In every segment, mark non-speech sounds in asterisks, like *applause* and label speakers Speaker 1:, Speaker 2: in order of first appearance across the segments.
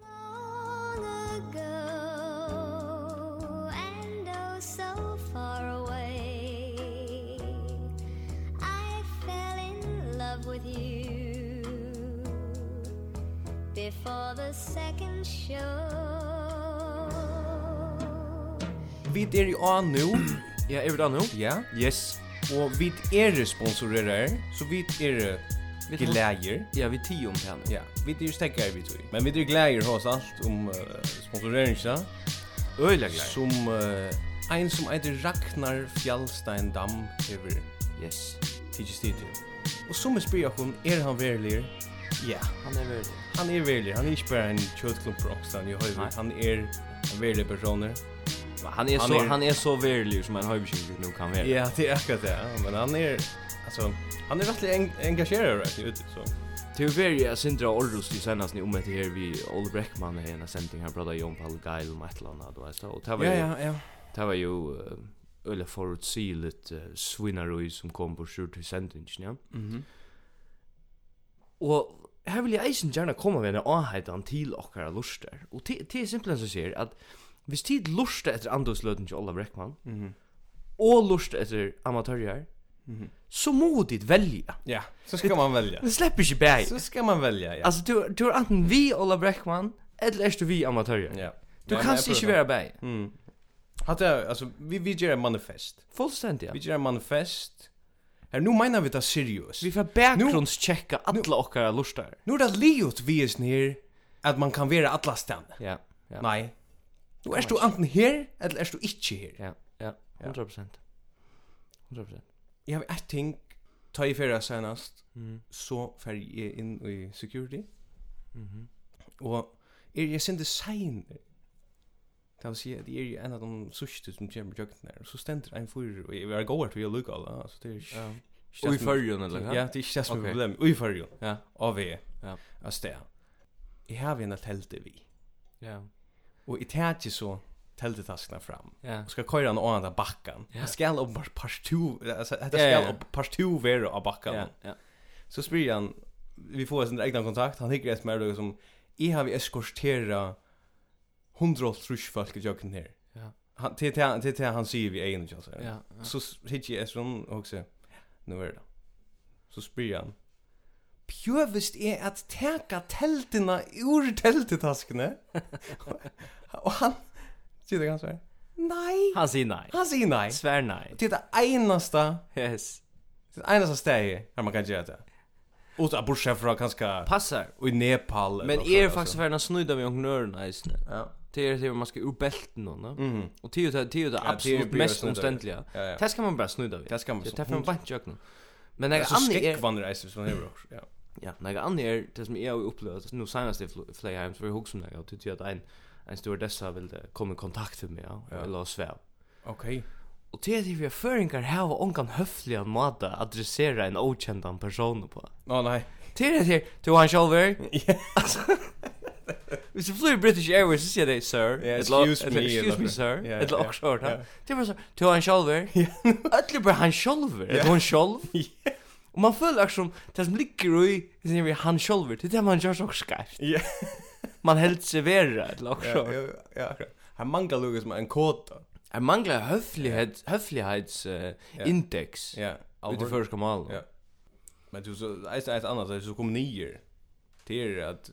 Speaker 1: oh, before the second show
Speaker 2: Vi er i A nu,
Speaker 3: Ja, er vi da nå?
Speaker 2: ja,
Speaker 3: Yes.
Speaker 2: og vi er sponsorerer, så vi er
Speaker 3: Vi tar-
Speaker 2: glæger.
Speaker 3: Ja, vi tio om henne.
Speaker 2: Ja, vi er stekkar vi tog. Men vi er glæger hos alt om uh, sponsoreringa,
Speaker 3: Øyla greier.
Speaker 2: som uh, ein som eitir Ragnar Fjallstein Dam hever
Speaker 3: Yes.
Speaker 2: tidsi stidje. Og som er spyrir hun, er han verilir? Ja,
Speaker 3: Han er veldig.
Speaker 2: han er verilir. Han er ikke bare en kjøtklump på Rokstan i høyver.
Speaker 3: Nei.
Speaker 2: Han er en verilig personer.
Speaker 3: Han er
Speaker 2: Han
Speaker 3: så,
Speaker 2: er-
Speaker 3: han er så verilig som en høybekymmer nu kan være.
Speaker 2: Ja, det er akkurat det. ja. Men han er, altså, han er rettelig eng engasjerer, right? Jeg vet, så.
Speaker 3: Det er veldig jeg synder av Orros til senast ni om etter her vi Ole Breckman er en sending her brada Jon Paul Geil om et eller annet, du veist. Og det var jo,
Speaker 2: ja.
Speaker 3: det var jo eh, øyla forutsilet uh, svinarøy som kom på sjur til sendingen, ja.
Speaker 2: Mhm.
Speaker 3: Og her vil jeg eisen gjerne komme med en avheitan til okkara luster. Og til, til simpelthen så sier at hvis tid luster etter andåsløten til Olav Breckman,
Speaker 2: Mhm.
Speaker 3: og lust etter amatører,
Speaker 2: Mhm.
Speaker 3: så må dit velja.
Speaker 2: Ja, så skal man velge.
Speaker 3: Det slipper ikke bæg.
Speaker 2: Så skal man velge, ja.
Speaker 3: Altså, du, du er enten vi Ola Breckman, eller er du vi amatører.
Speaker 2: Ja.
Speaker 3: Du
Speaker 2: Ja,
Speaker 3: kan
Speaker 2: men jeg
Speaker 3: ikke
Speaker 2: prøver.
Speaker 3: være bæg.
Speaker 2: Mm. Hatta, altså, vi, vi gjør en manifest.
Speaker 3: Fullstendig, ja.
Speaker 2: Vi gjør en manifest. Her, nu mener vi det er seriøst.
Speaker 3: Vi får bakgrundstjekka alla okkara lustar.
Speaker 2: Nu er det livet vi er sånn her, at man kan være alle stedene.
Speaker 3: Ja, ja.
Speaker 2: Nei. Nu er du enten her, eller er du ikke her.
Speaker 3: Ja, ja.
Speaker 2: Ja.
Speaker 3: 100%. 100%.
Speaker 2: Jeg har ett ting, ta i ferie senest,
Speaker 3: Mm.
Speaker 2: så fer jeg inn i security.
Speaker 3: Mhm.
Speaker 2: Og er jeg sinde sein Kan vi si at jeg er en av de sørste som kommer i kjøkkenen her Så stender en fyr Og jeg er gåer til å lukke alle altså, det er ikke-
Speaker 3: Ja.
Speaker 2: ikke
Speaker 3: Og i
Speaker 2: det som er-
Speaker 3: fyrjun, eller hva?
Speaker 2: Ja, det er ikke det som er
Speaker 3: Ok.
Speaker 2: problemet Og i fyrrjon
Speaker 3: Ja.
Speaker 2: Av vi
Speaker 3: Ja.
Speaker 2: Av sted Jeg har en av teltet vi
Speaker 3: Ja.
Speaker 2: Og jeg tar ikke så teltetaskene fram
Speaker 3: Ja.
Speaker 2: Og skal køyre en annen av bakken
Speaker 3: Ja.
Speaker 2: Jeg skal opp bare parstu Altså, dette
Speaker 3: Ja, ja,
Speaker 2: skal
Speaker 3: ja.
Speaker 2: opp parstu være av bakken
Speaker 3: Ja, ja.
Speaker 2: Så spyr han Vi får sin egna kontakt Han hikker et mer som Jeg har vi eskortera 130 folk i jøkken her
Speaker 3: Ja.
Speaker 2: Han- Til til- til til han sier vi egen ikke altså
Speaker 3: Ja.
Speaker 2: Så s- hikker jeg sånn Og så Nå er det Så spyr han Pjøvist er at teka teltina ur teltetaskene *laughs* Og han Sier det kanskje Nei
Speaker 3: Han sier nei.
Speaker 2: Han sier nei
Speaker 3: Svär nei.
Speaker 2: Det er det eneste
Speaker 3: Yes.
Speaker 2: Det er eneste stedet her man kan gjøre det. Og så bortsett fra kanskje
Speaker 3: Passar.
Speaker 2: i Nepal. eller
Speaker 3: Men
Speaker 2: noe
Speaker 3: er
Speaker 2: sånt,
Speaker 3: faktisk färna snudda med ångnörerna i snö.
Speaker 2: Ja.
Speaker 3: Det är det man ska ur bälten då, no?
Speaker 2: Mhm.
Speaker 3: Och det är ju det, det, är ju det
Speaker 2: det är ju
Speaker 3: absolut
Speaker 2: bara att
Speaker 3: mest
Speaker 2: snudda vid.
Speaker 3: omständliga.
Speaker 2: Ja, ja.
Speaker 3: Det ska man bara snudda vid.
Speaker 2: Det skal man
Speaker 3: Det
Speaker 2: så. er
Speaker 3: tar man bara inte ögonen. Men när
Speaker 2: Alltså
Speaker 3: Annie er- är
Speaker 2: skräckvandrar är som hur också. Ja.
Speaker 3: ja, när Annie er- är det som jag har upplevt nu senast i Flayheim för hooks mig och tycker att en en stor dessa vill komma i kontakt med mig ja,
Speaker 2: Ja.
Speaker 3: eller svär.
Speaker 2: Okej.
Speaker 3: Och det är det vi har föringar här och onkan höfliga måta att adressera en okändan person på.
Speaker 2: Nå
Speaker 3: *laughs*
Speaker 2: nej.
Speaker 3: Det är det här, du har en shoulder? Hvis du flyr British Airways så sier de, sir,
Speaker 2: Ja,
Speaker 3: et lo-
Speaker 2: excuse
Speaker 3: et-
Speaker 2: me,
Speaker 3: excuse
Speaker 2: eller-
Speaker 3: me, sir,
Speaker 2: Ja,
Speaker 3: et
Speaker 2: ja,
Speaker 3: lagt short,
Speaker 2: ja.
Speaker 3: Det var så, du har en sjolver? *laughs* Ötlig bara han sjolver, et hon
Speaker 2: *laughs*
Speaker 3: sjolv? Og man føler akkur som, det som ligger i, det som er han sjolver, det er det man gjør så skarpt.
Speaker 2: Ja.
Speaker 3: Man helt serverer et lagt
Speaker 2: Ja,
Speaker 3: short.
Speaker 2: ja, ja. Han manglar Lucas med en kåta.
Speaker 3: Her mangler høflighet, høflighetsindeks,
Speaker 2: Ja.
Speaker 3: ut i
Speaker 2: Utifrån.
Speaker 3: første malen.
Speaker 2: Ja. Men du så är ett annat det är så kom nier. Det är att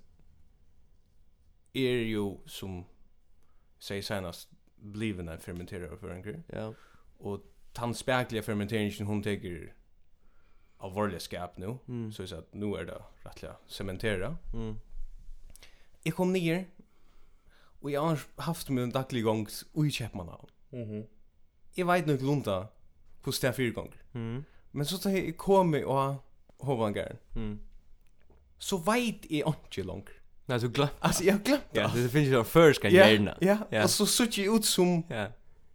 Speaker 2: är ju er som säger senast bliven en fermenterare för en grej.
Speaker 3: Ja.
Speaker 2: og tann spekliga fermenteringen hon teker alvorlig skap nu,
Speaker 3: Mm.
Speaker 2: så jeg sa at nu er det rettelig cementera.
Speaker 3: Mm.
Speaker 2: Jeg kom nyer, og jeg har haft min daglig gong ui Kjeppmannhavn. Jeg veit nok lunda hos det er fire gong.
Speaker 3: Mm.
Speaker 2: Men så tar jeg kom og hovangaren,
Speaker 3: Mm.
Speaker 2: så veit jeg ikke langer.
Speaker 3: Nei, du glemt.
Speaker 2: Altså, jeg har glemt det.
Speaker 3: Ja, det finnes jo først kan
Speaker 2: ja,
Speaker 3: gjerne.
Speaker 2: ja,
Speaker 3: Ja.
Speaker 2: og så sutt jeg ut som
Speaker 3: Ja.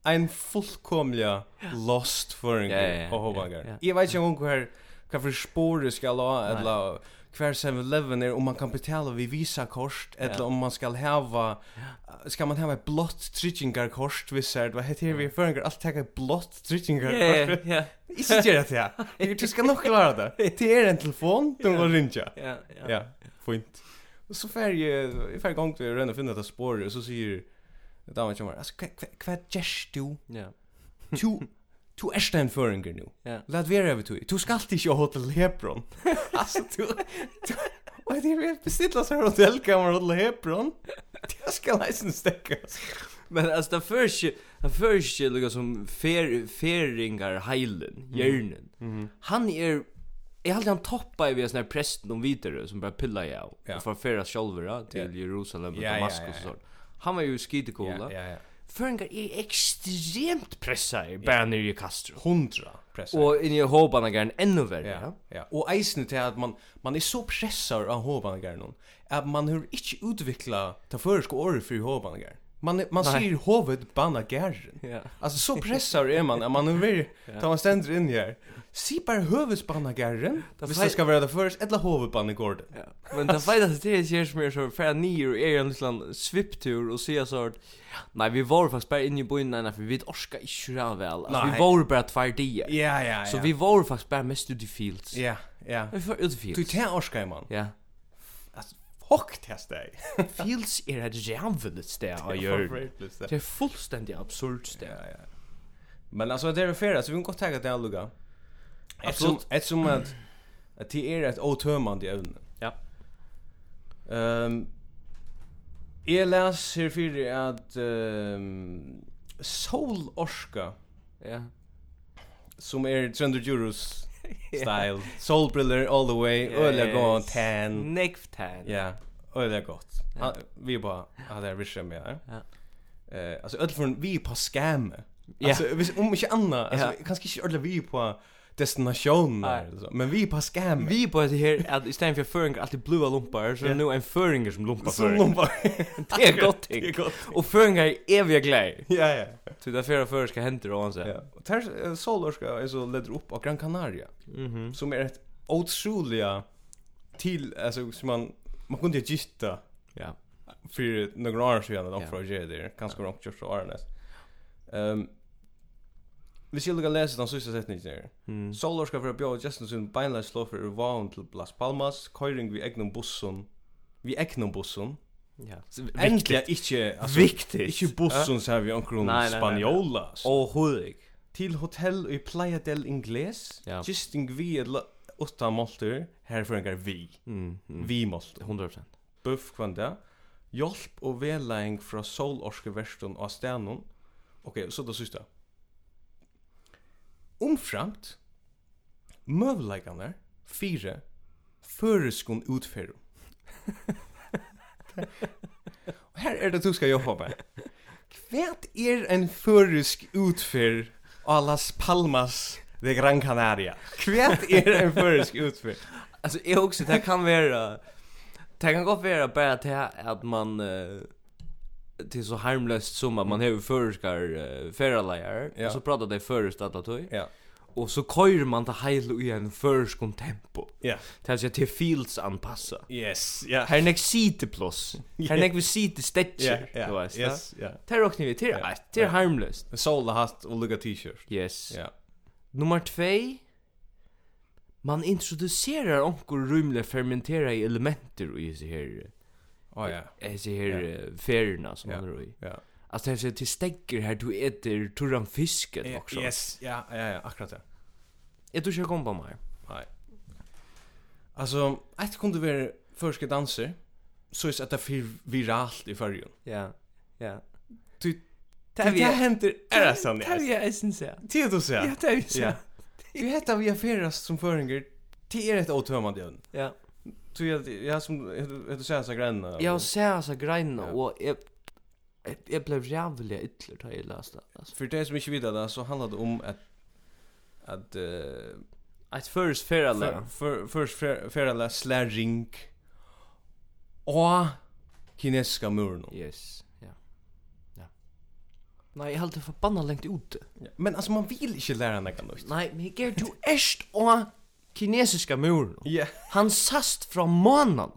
Speaker 2: en fullkomlig lost føring
Speaker 3: Ja, ja, ja,
Speaker 2: av Håvangar.
Speaker 3: ja, ja.
Speaker 2: Jeg vet ikke om hver hva um for spore skal ha,
Speaker 3: Nei.
Speaker 2: eller hver 7-Eleven er, om man kan betala vid Visa-kost, eller
Speaker 3: Ja.
Speaker 2: om man skal hava, skal man hava et blått tryggingarkost, vissar, er, hva heter det vi føringar, alt teka et blått
Speaker 3: Ja,
Speaker 2: *laughs* tryggingarkost.
Speaker 3: ja,
Speaker 2: Ikke gjør det, ja.
Speaker 3: *laughs*
Speaker 2: Du skal nok klara det. Det er en telefon, du må rinja.
Speaker 3: ja, ja.
Speaker 2: Ja, fint. Og så fer jeg, jeg fer gang til å renne og finne dette sporet, og så sier damen kommer, altså, hva- hva- hva gjerst du?
Speaker 3: Ja.
Speaker 2: Tu tu erst ein føringer nu.
Speaker 3: Ja.
Speaker 2: *laughs* Lat vera við tu. Tu skalt ikki á Hotel Hebron. altså tu tu Och det er är bestilla så här hotellkammare och Hebron. Det ska nästan stäckas.
Speaker 3: Men alltså den första den första lukar som fer feringar
Speaker 2: Mm.
Speaker 3: heilen, hjärnen.
Speaker 2: Mm-hmm.
Speaker 3: Han är Jag hade han toppar ju via sån här prästen om vidare som bara pilla jag och
Speaker 2: Ja.
Speaker 3: ja. förfäras själva till
Speaker 2: Ja.
Speaker 3: Jerusalem och
Speaker 2: Ja, ja,
Speaker 3: Damaskus
Speaker 2: ja,
Speaker 3: och
Speaker 2: ja.
Speaker 3: sånt. Han var ju skitecool.
Speaker 2: Ja, ja, ja.
Speaker 3: Föringar är extremt pressade bara nere i Castro.
Speaker 2: 100 pressar.
Speaker 3: Och inne i Hobanagaren ännu värre.
Speaker 2: Ja.
Speaker 3: Ja.
Speaker 2: Ja. Och eisen till att man man är så pressad av hovanagaren att man hur inte utveckla ta förska året för hovanagaren. Man är- man
Speaker 3: Nej.
Speaker 2: ser hovet banagaren.
Speaker 3: Ja.
Speaker 2: Alltså så pressad är man att man är väldigt tar man ständer in här. Se bara hovet banagaren.
Speaker 3: Det
Speaker 2: Visst
Speaker 3: fej-
Speaker 2: det ska vara det först eller hovet banagården.
Speaker 3: Ja. Men det vet att det är ju mer så för ni och är en liten sviptur och se så att nej vi var faktiskt bara inne i byn nej för vi vet orska i sjön väl. Alltså, vi
Speaker 2: Nej.
Speaker 3: var bara två dagar.
Speaker 2: Ja ja.
Speaker 3: Så vi var faktiskt bara mest ute i fields.
Speaker 2: Ja, ja.
Speaker 3: Vi var ute i
Speaker 2: Du
Speaker 3: fields.
Speaker 2: tar orska man.
Speaker 3: Ja.
Speaker 2: Alltså fuck testa dig.
Speaker 3: Fields är ett jävligt *laughs* ställe att göra. Det är fullständigt absurd ställe.
Speaker 2: Ja, ja. Men alltså det är fair alltså vi kan gott tagga det alluga. Eftersom
Speaker 3: Absolut.
Speaker 2: eftersom att att det är ett otömmande ämne.
Speaker 3: Ja.
Speaker 2: Ehm Jag läser för er att ehm solorska
Speaker 3: Ja.
Speaker 2: som är 300
Speaker 3: *laughs*
Speaker 2: euros style. Solbriller all the way. Öliga gå tan.
Speaker 3: Mm. Nekftan.
Speaker 2: Ja, och det är gott. Han, vi bara hade en vision med det.
Speaker 3: Ja.
Speaker 2: Eh, alltså öll från vi är på scam.
Speaker 3: Ja.
Speaker 2: Alltså hvis- om inte annat, alltså
Speaker 3: Ja.
Speaker 2: kanske inte öll vi är på destinationer
Speaker 3: Nej.
Speaker 2: eller så, men vi är på scam.
Speaker 3: Vi på det här att istället för föringar alltid blåa lumpar er så är det nu en föringar som lumpar
Speaker 2: som
Speaker 3: föringar.
Speaker 2: de bara.
Speaker 3: *laughs* Det är gott
Speaker 2: Det är
Speaker 3: ting. er
Speaker 2: gott.
Speaker 3: Och föringar är eviga glädje.
Speaker 2: Ja, ja.
Speaker 3: Så det er är flera förska händer och så.
Speaker 2: Ja. Och där eh, solorska är så leder upp av Gran Canaria
Speaker 3: Mhm.
Speaker 2: som är ett otroliga till alltså som man man kunde ju gista
Speaker 3: Ja.
Speaker 2: för några år sedan att
Speaker 3: Ja.
Speaker 2: offra det där kanske de också så är Ehm Vi skulle gå läsa den sista sättningen där.
Speaker 3: Mm.
Speaker 2: Solor ska för att bjóða Justin sin beinleis slå för Vaun til Las Palmas, køyring vi egnom bussun, vi egnom bussun.
Speaker 3: Ja.
Speaker 2: Endelig ikkje, altså,
Speaker 3: Viktigt.
Speaker 2: ikkje bussun ser vi omkron
Speaker 3: Nei, nei, nei, nei.
Speaker 2: spanjola. altså.
Speaker 3: Och hodig.
Speaker 2: Til hotell i Playa del Ingles,
Speaker 3: Ja.
Speaker 2: Justin vi et la- åtta måltur, her for engar vi,
Speaker 3: Mm. mm.
Speaker 2: vi måltur.
Speaker 3: 100%.
Speaker 2: Buff kvann det. Hjálp og velaing fra solorske verstun av stenen. Ok, så det sista. Omframt, møvleikene, fire, føreskon utferru. og her er det du skal jobba med. Hva er en føresk utfer av Las Palmas de Gran Canaria? Hva er en føresk utfer?
Speaker 3: Alltså är också det här kan vara det kan gå vara bara till att man eh, till så harmlöst som att man har förskar uh, föralajer
Speaker 2: Ja.
Speaker 3: och så pratar det först att då
Speaker 2: Ja,
Speaker 3: och så kör man till hela i en förskom tempo.
Speaker 2: ja.
Speaker 3: Det er är till fields anpassa.
Speaker 2: Yes, ja.
Speaker 3: Här näck sitter *laughs* plus. Här näck vi
Speaker 2: Ja,
Speaker 3: sitter stetcher.
Speaker 2: ja.
Speaker 3: Du vet. ja.
Speaker 2: Yes, ja.
Speaker 3: Det er här råknar vi till.
Speaker 2: Ja,
Speaker 3: Det er till
Speaker 2: ja.
Speaker 3: harmlöst.
Speaker 2: En solahatt och lugga t-shirt.
Speaker 3: Yes.
Speaker 2: Ja.
Speaker 3: Nummer 2 Man introducerar onkur rymle fermentera i elementer i så här
Speaker 2: Åh ja.
Speaker 3: i så här yeah. färerna som
Speaker 2: Ja.
Speaker 3: man rör i.
Speaker 2: Ja.
Speaker 3: Alltså det är till stäcker här du äter turran fisken också.
Speaker 2: Eh, Yes, ja, ja, ja, akkurat det.
Speaker 3: Jag tror jag kom på mig.
Speaker 2: Nej. Alltså, ett kunde vara förska danser så är det att det blir viralt i färgen.
Speaker 3: Ja. Ja.
Speaker 2: Du-
Speaker 3: Det här vi
Speaker 2: händer är det sant.
Speaker 3: Det här vi är syns jag.
Speaker 2: Det du
Speaker 3: er Ja,
Speaker 2: säger.
Speaker 3: det här vi
Speaker 2: Ja.
Speaker 3: ja.
Speaker 2: Du heter vi affäras som föringer till är ett otömmande ön.
Speaker 3: Ja.
Speaker 2: Du jag jag som heter du säger så gränna.
Speaker 3: Jag ser alltså grejerna
Speaker 2: Ja.
Speaker 3: och jag jag blev jävligt ytterligt har jag läst det. Alltså.
Speaker 2: för det som inte vet det så handlar det om att att eh
Speaker 3: Ett först färre
Speaker 2: För först färala slärring och kinesiska muren.
Speaker 3: Yes, ja. Ja. Nej, jag hade förbannat längt ute.
Speaker 2: Men alltså man vill inte lära något nytt.
Speaker 3: Nej, men jag ger du erst och kinesiska muren.
Speaker 2: Ja.
Speaker 3: Han sast från månen.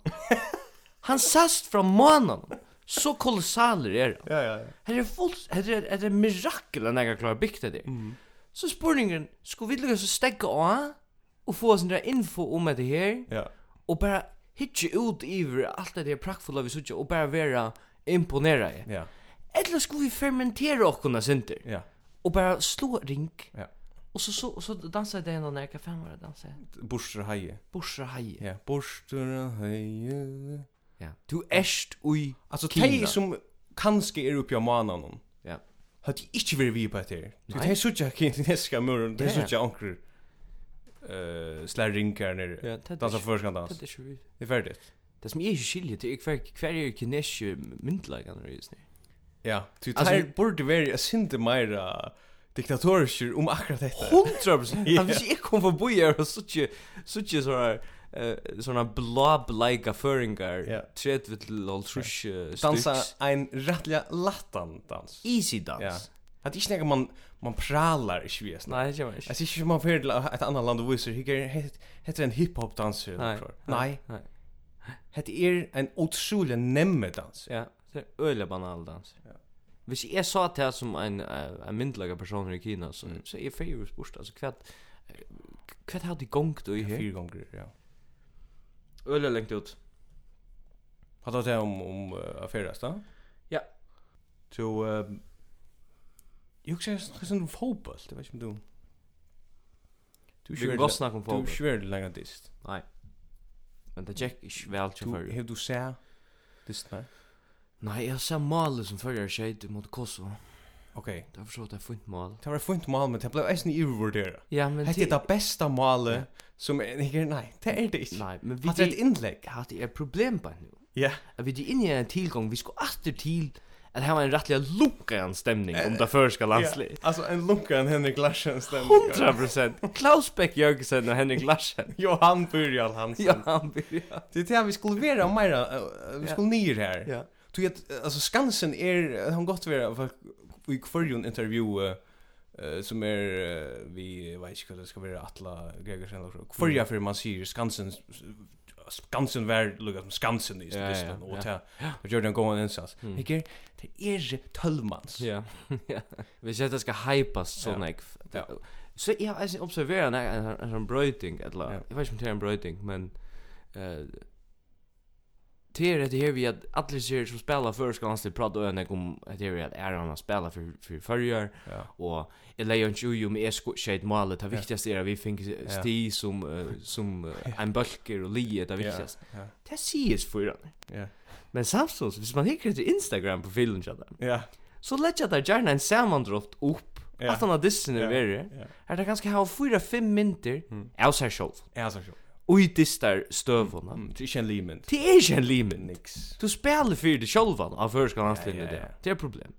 Speaker 3: *laughs* Han sast från månen. Så kolossaler är det.
Speaker 2: Ja ja.
Speaker 3: Här är er fullt, här är, här är er mirakel när jag klarar bygga det. Mm. Så spurningen, ska vi lyckas att stäcka av och få sån där info um om det här
Speaker 2: Ja.
Speaker 3: och bara hitcha ut över allt er det där praktfulla vi suttit och bara vara imponera i.
Speaker 2: Ja.
Speaker 3: Eller skulle vi fermentera okkurna sinter
Speaker 2: Ja.
Speaker 3: och bara slå rink
Speaker 2: Ja.
Speaker 3: Och så så så dansade det någon när kaffan var det dansade.
Speaker 2: Bursur heie.
Speaker 3: Borsa haj.
Speaker 2: Ja, bursur heie.
Speaker 3: Ja. Du ärst oj.
Speaker 2: Alltså
Speaker 3: Kina.
Speaker 2: tei som kanske är uppe i manan hon.
Speaker 3: Ja.
Speaker 2: Hade inte varit vi på det här. Du
Speaker 3: Nei.
Speaker 2: tei sucha kinesiska muren, tei
Speaker 3: Ja, ja.
Speaker 2: sucha onkel. Eh, slärrinkar ner.
Speaker 3: Ja, det
Speaker 2: Dansa
Speaker 3: är
Speaker 2: först kan dansa.
Speaker 3: det är så vidt.
Speaker 2: Det er är färdigt.
Speaker 3: Det som är skilje till kvar kvar är kinesiska myndlagarna just nu.
Speaker 2: Ja, du
Speaker 3: Altså-
Speaker 2: tei borde vara a sinte mera diktatorer om akkurat detta.
Speaker 3: *laughs* 100%.
Speaker 2: Ja.
Speaker 3: Han vill inte komma förbi här och sådär sådär sådär eh såna blå blika föringar
Speaker 2: Ja.
Speaker 3: träd vid lol trusch
Speaker 2: Dansa ein rättliga lattan dans. er
Speaker 3: easy
Speaker 2: Ja.
Speaker 3: dance.
Speaker 2: Att inte när man man pralar i Sverige.
Speaker 3: Nej, det gör man inte.
Speaker 2: Jag ser inte man för ett annat land er- och visar hur heter en hiphop danser
Speaker 3: Nej.
Speaker 2: Nej,
Speaker 3: Nej.
Speaker 2: det är en otrolig er nemme dans.
Speaker 3: Ja, det är öliga banal dans. Ja. Hvis jeg sa til her som en, eh, en myndelaga person i Kina, så,
Speaker 2: Mm.
Speaker 3: så er jeg fyrir spørst, altså hva hva har de gongt i her?
Speaker 2: Fyra gånger, ja.
Speaker 3: Øyla lengt ut.
Speaker 2: Har du det om om uh, affärer då?
Speaker 3: Ja.
Speaker 2: Så ehm Jag ser sån fotboll, det vet inte om du. Du
Speaker 3: Vi kan godt snakke om
Speaker 2: Du
Speaker 3: folk,
Speaker 2: kör länge dist.
Speaker 3: men det gikk ikke vel til
Speaker 2: Du
Speaker 3: fyrir.
Speaker 2: har du sett dist nej.
Speaker 3: Nei, jeg ser malet som fyrir skjeit mot Kosovo.
Speaker 2: Okej.
Speaker 3: Det er for så at det er fint mal.
Speaker 2: Det var fint mål, men det blev eisen övervärderat.
Speaker 3: Ja, men
Speaker 2: Det är det bästa målet som är nej, det är det inte.
Speaker 3: Nei, men
Speaker 2: Att det är
Speaker 3: vi
Speaker 2: ett inlägg.
Speaker 3: har det er problem på nu.
Speaker 2: Ja.
Speaker 3: At vi er inne i en tilgang, vi skal atter til at her var en rettelig lukkan stemning om det første landslig.
Speaker 2: Alltså en lunkan Henrik Larsen stämmer.
Speaker 3: 100% Klaus Beck Jørgensen og Henrik Larsen.
Speaker 2: Johan Byrjan Hansen.
Speaker 3: ja, han blir ja.
Speaker 2: Det är det här vi skulle vara mera, eh, vi
Speaker 3: Ja.
Speaker 2: skulle ner här.
Speaker 3: Ja.
Speaker 2: Du vet, eh, alltså Skansen är, han gått vara för i förrjun intervju eh, som är, eh, vi vet inte vad det ska vara, Atla Gregersen eller så. Förrja
Speaker 3: Mm.
Speaker 2: för man säger Skansen, Skansen var lukkat som Skansen i
Speaker 3: Ja, ja,
Speaker 2: Tyskland och
Speaker 3: ja.
Speaker 2: det här gjorde en gång en insats.
Speaker 3: Mm.
Speaker 2: Ikke, det er är tölvmans.
Speaker 3: ja. *laughs* Hvis dette skal hypas så
Speaker 2: Ja.
Speaker 3: nekv.
Speaker 2: Ja.
Speaker 3: Så jeg har eisen observeret en, en, en sånn brøyting, eller,
Speaker 2: Ja.
Speaker 3: jeg vet ikke om det er en brøyting, men uh, det er dette her vi at alle ser som spiller før skal han prate og nek om at det er at er han spiller for, for førjer,
Speaker 2: Ja.
Speaker 3: og er jeg leier ikke ui om jeg skulle skjedd malet, det
Speaker 2: Ja.
Speaker 3: viktigste er at vi finner sti som, eh, som eh, en bølger og lige, det er viktigste.
Speaker 2: Ja.
Speaker 3: Det sies for han.
Speaker 2: Ja.
Speaker 3: Men samtidig, hvis man hikker til Instagram-profilen til dem,
Speaker 2: Ja.
Speaker 3: så legger der gjerne en samandroft opp,
Speaker 2: Ja.
Speaker 3: at han har dissene
Speaker 2: Ja.
Speaker 3: yeah. verre,
Speaker 2: Ja.
Speaker 3: er det ganske hava 4-5 mynter
Speaker 2: Mm.
Speaker 3: av seg sjolv,
Speaker 2: Ja, så så.
Speaker 3: og i distar støvene.
Speaker 2: Mm, Det är inte en limen.
Speaker 3: Det er ikke en limen.
Speaker 2: Nix.
Speaker 3: Du spiller for det sjolvan av førskan hans
Speaker 2: Ja, ja,
Speaker 3: det.
Speaker 2: ja.
Speaker 3: Det er et problem.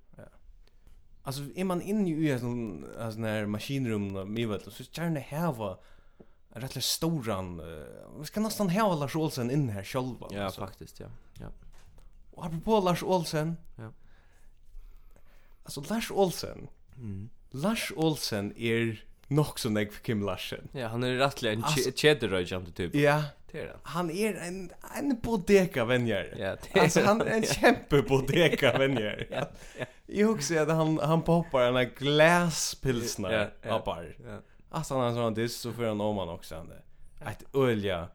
Speaker 2: Alltså är man inne i en sån alltså när maskinrum med vet så gärna häva en rätt storan eh, vi ska nästan ha Lars Olsen in här själva
Speaker 3: Ja,
Speaker 2: alltså.
Speaker 3: faktisk, ja. ja.
Speaker 2: Och apropå Lars Olsen.
Speaker 3: Ja.
Speaker 2: Alltså Lars Olsen.
Speaker 3: Mm.
Speaker 2: Lars Olsen är nog så näg för Kim Larsen.
Speaker 3: Ja, han er rettelig en
Speaker 2: Altså-
Speaker 3: kjederøyjante typ.
Speaker 2: Ja,
Speaker 3: Det er han.
Speaker 2: han är en en bodega vänjer.
Speaker 3: *laughs* Ja, det er
Speaker 2: Alltså han är en kämpe bodega vänjer.
Speaker 3: Ja, ja.
Speaker 2: Jag också att han han poppar en här glaspilsner
Speaker 3: Ja, ja.
Speaker 2: appar.
Speaker 3: Ja.
Speaker 2: Att han har en sån diss så får han om han också han Ett ölja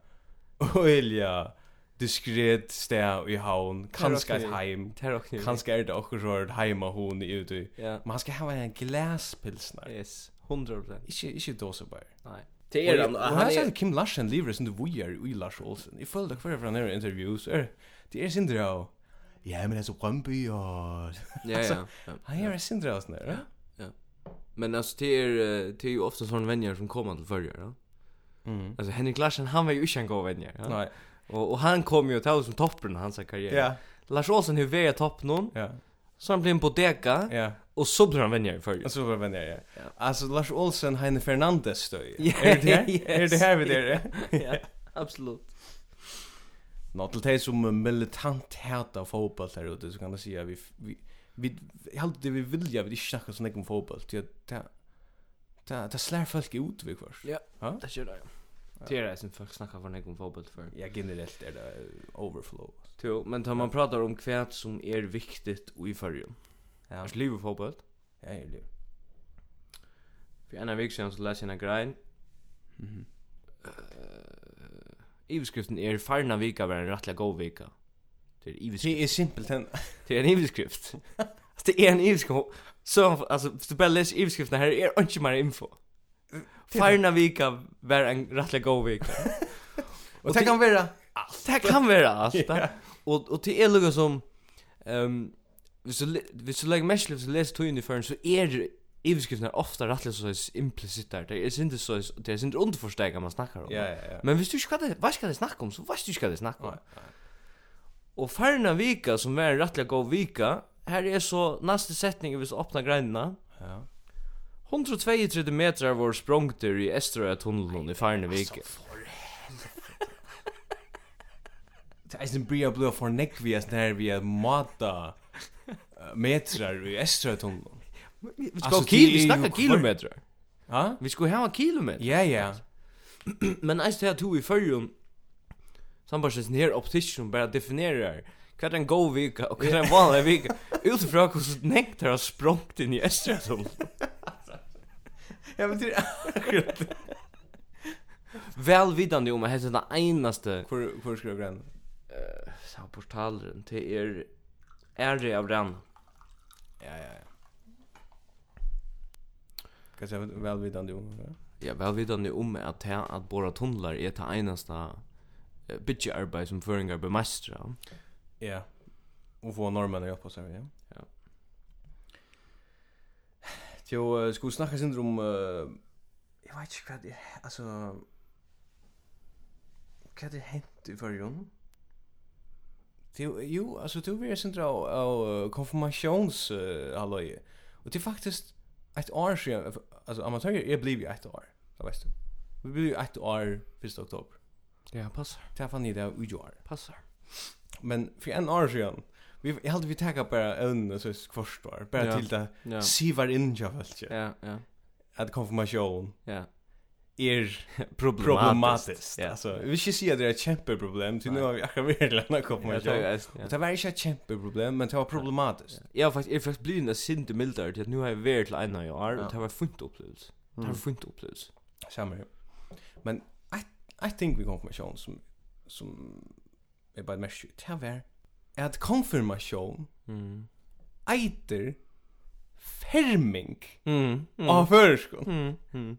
Speaker 2: ölja diskret stä i havn, kanske ett heim.
Speaker 3: Det er også nivå.
Speaker 2: Kanske är det också så att hemma hon är ute.
Speaker 3: Ja,
Speaker 2: Men han ska ha en glaspilsner.
Speaker 3: yes. 100%.
Speaker 2: Ikke, ikke dåse bare.
Speaker 3: Nei. Det er
Speaker 2: Og jeg- Og er her sier Kim Larsen lever som du vujer i Lars Olsen. Jeg føler dere for fra nere intervju, så er det er sindre av Ja, men altså Brøndby og...
Speaker 3: Ja, ja. ja.
Speaker 2: Han er sindre av sånn der, ja?
Speaker 3: Men alltså det är eh, det är ju ofta sån vänner som kommer till förr, ja.
Speaker 2: Mm.
Speaker 3: Alltså Henrik Larsen han var ju inte en god vän, ja.
Speaker 2: Nei,
Speaker 3: Och och han kom ju till som toppen av hans karriär.
Speaker 2: ja,
Speaker 3: Lars Olsen hur var topp någon?
Speaker 2: ja,
Speaker 3: Så han blev en bodega
Speaker 2: ja.
Speaker 3: och så blev han vänner förr.
Speaker 2: Og så var venner, ja.
Speaker 3: Ja.
Speaker 2: Altså, Lars Olsen, Heine Fernandes *laughs* støy.
Speaker 3: Ja,
Speaker 2: Er det her? Er
Speaker 3: yes.
Speaker 2: det her vi der, ja?
Speaker 3: *laughs* ja, absolut.
Speaker 2: Nå, til deg som er militant hata fotball her ute, så kan jeg si at vi... vi Vi helt det vi vilja vi ikke snakke sånn ikke om fotball til at det er- det er- det slær folk ut vi kvart.
Speaker 3: Det gör det. ja. Det är det som folk snackar för när om fotboll för.
Speaker 2: Ja, generellt er det overflow.
Speaker 3: Jo, men tar man pratar om kvärt som är viktigt och i förr.
Speaker 2: Ja,
Speaker 3: Alltså livet fotboll.
Speaker 2: ja, er det.
Speaker 3: För en av veckan så läser jag en grej.
Speaker 2: Mhm.
Speaker 3: Iveskriften är farna er, vika var en rättliga god vika. Det är iveskrift.
Speaker 2: Det er är simpelt en
Speaker 3: Det är en
Speaker 2: *laughs*
Speaker 3: iveskrift. er Alltså det är en iveskrift. Så alltså, hvis du bara läser iveskriften här är inte mer er info. Farna vika var en rättliga god
Speaker 2: *laughs*
Speaker 3: vika.
Speaker 2: Och det kan vara
Speaker 3: Allt. Det kan vara allt.
Speaker 2: *laughs* Ja.
Speaker 3: Och och till Elga er som ehm hvis du le- hvis du lägger mest läs läs to uniform så er är det överskrifterna ofta rättliga så är implicit där. Det är inte så det är inte underförstått man snackar om.
Speaker 2: Ja, ja, ja.
Speaker 3: Men hvis du ikke hva det, hva skal det snakke om, så hva skal det snakke om?
Speaker 2: Nei,
Speaker 3: um. Og farna vika, som var en rettelig god vika, her er så neste setning hvis du åpner greinene.
Speaker 2: Ja.
Speaker 3: 132 meter var sprongter i Esterøya-tunnelen i farna vika.
Speaker 2: Det er är en bria blå för neck vi är när vi är mata eh, metrar i Estratunneln.
Speaker 3: Vi
Speaker 2: Altså,
Speaker 3: skal kil,
Speaker 2: det er
Speaker 3: vi
Speaker 2: jo
Speaker 3: snakker
Speaker 2: kvar-
Speaker 3: kilometer.
Speaker 2: Ja?
Speaker 3: Vi skal hava kilometer.
Speaker 2: Ja, ja.
Speaker 3: Men eis det her to i fyrrjun, sambarsen her optician bare definerer hva er en god vika og hva er en vanlig *laughs* vika, utifra hvordan nektar har sprongt inn i Esterøya-tunnelen.
Speaker 2: Ja, men det er- är
Speaker 3: Velvidande om at det er den einaste
Speaker 2: hur hur ska jag grann?
Speaker 3: sa portalen til er ære av den.
Speaker 2: Ja, ja, ja. Kan jag väl vid den då.
Speaker 3: Ja, velvidande om at det at bora tunnlar er det eneste eh, bytjearbeid som føringar bemeistra.
Speaker 2: Ja. Och få normen att hjälpa oss här, ja.
Speaker 3: Ja.
Speaker 2: Jo, eh, ska vi snacka sen om eh, jag vet inte vad det alltså vad det hänt i förrjun? Jo, jo, alltså du vill sen dra av eh, konfirmations uh, halloj. Och det är faktiskt ett år sedan alltså amatörer är blivit ett år. Det vet du. Vi blir ett år 1 oktober.
Speaker 3: Ja, passar,
Speaker 2: Det här fann ni det ujoar.
Speaker 3: passar.
Speaker 2: Men för en år sedan vi jag hade vi tagit bara en så kvart år bara
Speaker 3: Ja.
Speaker 2: till det
Speaker 3: Ja,
Speaker 2: sivar in jag vet inte.
Speaker 3: ja, ja.
Speaker 2: Att konfirmation
Speaker 3: ja.
Speaker 2: är
Speaker 3: *laughs* Problematiskt.
Speaker 2: problematiskt.
Speaker 3: Ja.
Speaker 2: Alltså, vi vill inte säga att det är ett kämpeproblem, till nu
Speaker 3: Nej.
Speaker 2: har vi akkurat verkligen en
Speaker 3: Ja, det
Speaker 2: konfirmation.
Speaker 3: er eisen,
Speaker 2: Och
Speaker 3: ja.
Speaker 2: det var inte ett kämpeproblem, men det var problematiskt.
Speaker 3: Jeg har faktisk, jeg har faktisk blivit en sinte mildare til at nu har jeg vært til ena i år,
Speaker 2: Ja.
Speaker 3: og er, det var funt opplevelse. Det var funt opplevelse.
Speaker 2: Samma här. Men I, I think vi konfirmation som, som är bara ett märkligt. Det var att konfirmation
Speaker 3: Mm.
Speaker 2: eiter ferming
Speaker 3: Mm. Mm.
Speaker 2: av förskon.
Speaker 3: Mm. Mm.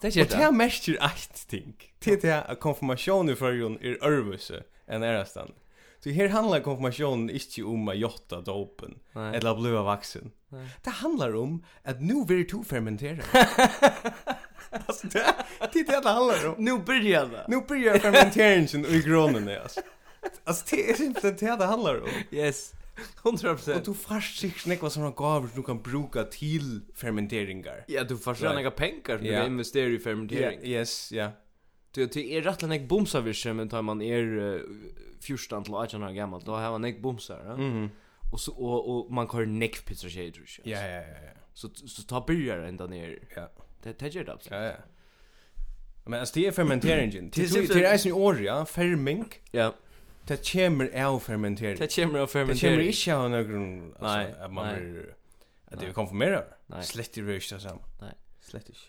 Speaker 3: Det er
Speaker 2: Og
Speaker 3: ikke
Speaker 2: det
Speaker 3: det.
Speaker 2: merker eit ting. Det er det at konfirmasjon i førjon er ørvuse enn ærastan. Så her handlar um konfirmasjonen ikke om å jotta dopen,
Speaker 3: Nei.
Speaker 2: eller å bliva vaksen.
Speaker 3: Nei.
Speaker 2: Det handlar om at nu vil du fermentera. altså, det, det er det det handlar om.
Speaker 3: Nu börjar det.
Speaker 2: Nu börjar fermenteringen i grånene, altså. Alltså er det är inte det det handlar um. om.
Speaker 3: Yes. 100%.
Speaker 2: Och du fast sig nekva sådana gaver som du kan bruka till fermenteringar.
Speaker 3: Ja, du får
Speaker 2: Right.
Speaker 3: såna några pengar som
Speaker 2: Ja.
Speaker 3: du investerar i fermentering.
Speaker 2: Yes, ja.
Speaker 3: Du det är rätt länge bomsar vi kör men tar man er eh, 14 till 18 år gammal då har man nek bomsar. Ja?
Speaker 2: Mhm.
Speaker 3: Och så och, och man kör nek pizza tjejer tror jag.
Speaker 2: Ja, ja, ja, ja.
Speaker 3: Så så ta byrjar ända ner.
Speaker 2: Ja.
Speaker 3: Det det gör det absolut.
Speaker 2: Ja, ja. Men alltså det är fermenteringen.
Speaker 3: Det
Speaker 2: Det
Speaker 3: er är
Speaker 2: är
Speaker 3: syftet-
Speaker 2: det är sin år, ja, ferming.
Speaker 3: Ja.
Speaker 2: Det kommer av fermentering.
Speaker 3: Det kommer av
Speaker 2: Det kommer
Speaker 3: fermentering.
Speaker 2: inte av någon
Speaker 3: Nej,
Speaker 2: alltså att man
Speaker 3: nej.
Speaker 2: blir att
Speaker 3: Nej.
Speaker 2: det konfirmerar.
Speaker 3: Nej.
Speaker 2: Slett i rösta samma.
Speaker 3: Nej.
Speaker 2: Slett inte.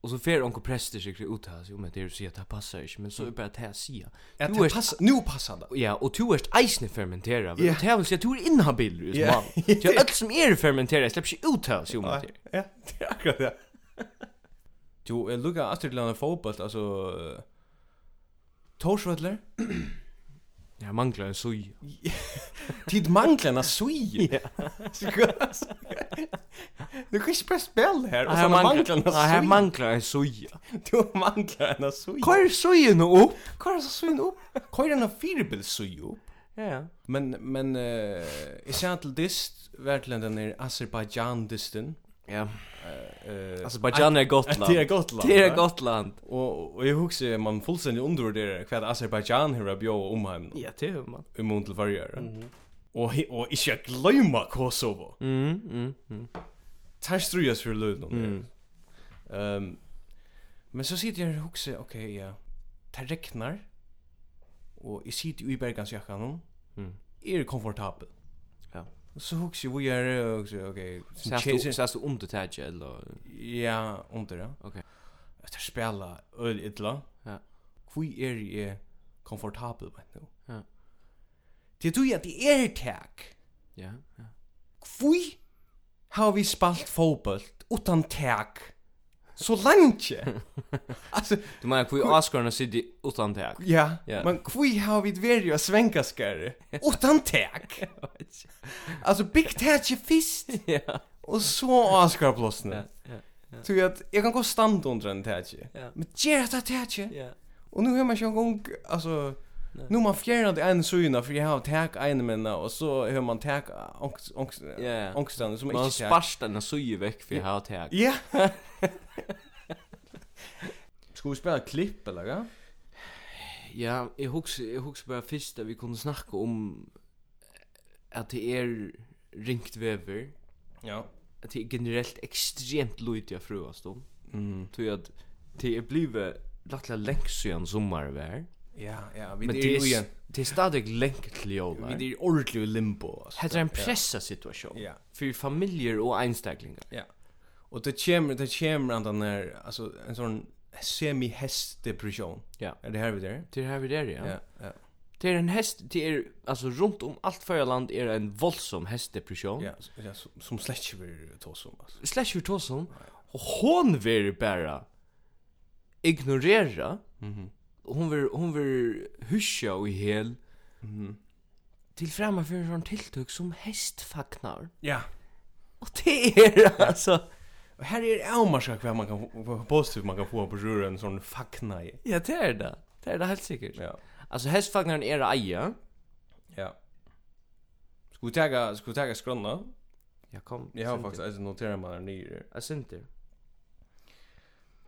Speaker 3: Och så fer onkel präster sig ut här så men det är så att det passar inte men så är bara att här sia.
Speaker 2: Att
Speaker 3: Du er-
Speaker 2: det
Speaker 3: är-
Speaker 2: passar nu passar det.
Speaker 3: Ja, och du är eisne fermentera.
Speaker 2: Ja.
Speaker 3: Yeah. Det här vill säga att du är inhabil i
Speaker 2: *laughs* Ja.
Speaker 3: yeah. man. Det er är allt som är fermentera släpps ju ut här så
Speaker 2: Ja,
Speaker 3: men det.
Speaker 2: ja, det är akkurat det. *laughs* Du är lugga att det landar fotboll alltså eh, Torsvöller.
Speaker 3: Jag manglar en soja.
Speaker 2: Tid manglarna *laughs* suj.
Speaker 3: Ja.
Speaker 2: Du kan ju spela spel här och
Speaker 3: Här
Speaker 2: så
Speaker 3: manglar,
Speaker 2: manglarna
Speaker 3: Ja, här
Speaker 2: suj.
Speaker 3: manglar en soja.
Speaker 2: *laughs* Du manglarna suj.
Speaker 3: Kvar sujen upp.
Speaker 2: Hva er det som syn opp? Hva er denne firebil syn opp?
Speaker 3: Ja, ja.
Speaker 2: Men, men, uh, jeg ser til dist, vertelen den er Azerbaijan-disten.
Speaker 3: Ja.
Speaker 2: Uh,
Speaker 3: Azerbaijan är gott
Speaker 2: *laughs*
Speaker 3: land.
Speaker 2: Det er godt land.
Speaker 3: Det
Speaker 2: va?
Speaker 3: är gott land.
Speaker 2: Og, og jeg husker man fullstendig undervurderer hva Azerbaijan har bjå om heim
Speaker 3: Ja, det är man.
Speaker 2: i mån til varje Og, he- og ikke gløyma Kosovo.
Speaker 3: Mm, mm, mm.
Speaker 2: Tær strujas for løyden
Speaker 3: Mm.
Speaker 2: Um, men så sitter jag och huxar, okej, ja. Det regnar. Och jag sitter ju i bergansjackan nu.
Speaker 3: Mm.
Speaker 2: Är det komfortabel?
Speaker 3: Ja.
Speaker 2: Och så huxar jag, vi gör det och så, okej. sen
Speaker 3: Sägs
Speaker 2: tje-
Speaker 3: du
Speaker 2: sen-
Speaker 3: sägs du om det här eller
Speaker 2: Ja, under det.
Speaker 3: Okej.
Speaker 2: Efter spela öl illa.
Speaker 3: Ja.
Speaker 2: Hur är det komfortabel med nu?
Speaker 3: Ja.
Speaker 2: Det du att det är tack.
Speaker 3: ja, ja.
Speaker 2: Hur har vi spalt fotboll utan tack? så lenge.
Speaker 3: *laughs*
Speaker 2: Alltså,
Speaker 3: Du menar hur Oscarna sitter utan tag.
Speaker 2: ja,
Speaker 3: Ja.
Speaker 2: men kvi har vi varit och svänka *laughs* skär. Utan täck. Alltså big täck är fist
Speaker 3: Ja.
Speaker 2: och så Oscar plåsna.
Speaker 3: Ja. Ja.
Speaker 2: Så att jag kan gå stand under en täck.
Speaker 3: Ja.
Speaker 2: Men ger det täck.
Speaker 3: Ja.
Speaker 2: Och nu har man ju en gång alltså
Speaker 3: Nej.
Speaker 2: Nu har man fjärnat en syna för jag har täck en minna och så har man täck ångst ångst
Speaker 3: Ja.
Speaker 2: ångstan som
Speaker 3: Man
Speaker 2: inte täck.
Speaker 3: sparst den så ju väck för jag har tag.
Speaker 2: *laughs* Ja. Ska vi spela klipp eller vad?
Speaker 3: Ja, jag huxar jag huxar bara först där vi kunde snacka om att det är ringt väver.
Speaker 2: Ja.
Speaker 3: Att det är generellt extremt lojt jag fruast om.
Speaker 2: Mm.
Speaker 3: Tror jag att det er är blivit rättliga längst sedan sommarvär.
Speaker 2: Ja, ja, vi er
Speaker 3: er Men
Speaker 2: är
Speaker 3: det er
Speaker 2: ju
Speaker 3: är
Speaker 2: igen.
Speaker 3: det är stadigt längt till jobbar.
Speaker 2: Vi är ordentligt i limbo. Alltså.
Speaker 3: Hetta er ein pressa situation.
Speaker 2: Ja.
Speaker 3: Fyrir familjer og einstaklingar.
Speaker 2: Ja. Och det kommer det kommer an den här alltså en sån semi häst depression.
Speaker 3: Ja.
Speaker 2: Är det här vi där?
Speaker 3: Det er her vi der, ja.
Speaker 2: Ja. Ja.
Speaker 3: Det er en hest, det er, altså rundt om alt fyrir land er en voldsom hestdepression.
Speaker 2: Ja, s- ja som, som släcker vi ta som alltså.
Speaker 3: Slash vi tås om, og hon vil bare ignorera,
Speaker 2: Mhm.
Speaker 3: hon vil, hon vil husja og i hel,
Speaker 2: Mhm.
Speaker 3: til fremme for en sånn tiltøk som hestfagnar.
Speaker 2: Ja.
Speaker 3: Og det er *laughs* altså,
Speaker 2: Och här är det avmarska kvar man kan få- få positivt man kan få på rören sån fackna i.
Speaker 3: ja det er det, det er det helt sikkert.
Speaker 2: Ja.
Speaker 3: Altså hestfagnaren er eia,
Speaker 2: Ja. Ska vi ta ska vi ta skrona?
Speaker 3: ja kom,
Speaker 2: Jag har
Speaker 3: syndir.
Speaker 2: faktiskt alltså noterat man här nere.
Speaker 3: Jeg synter.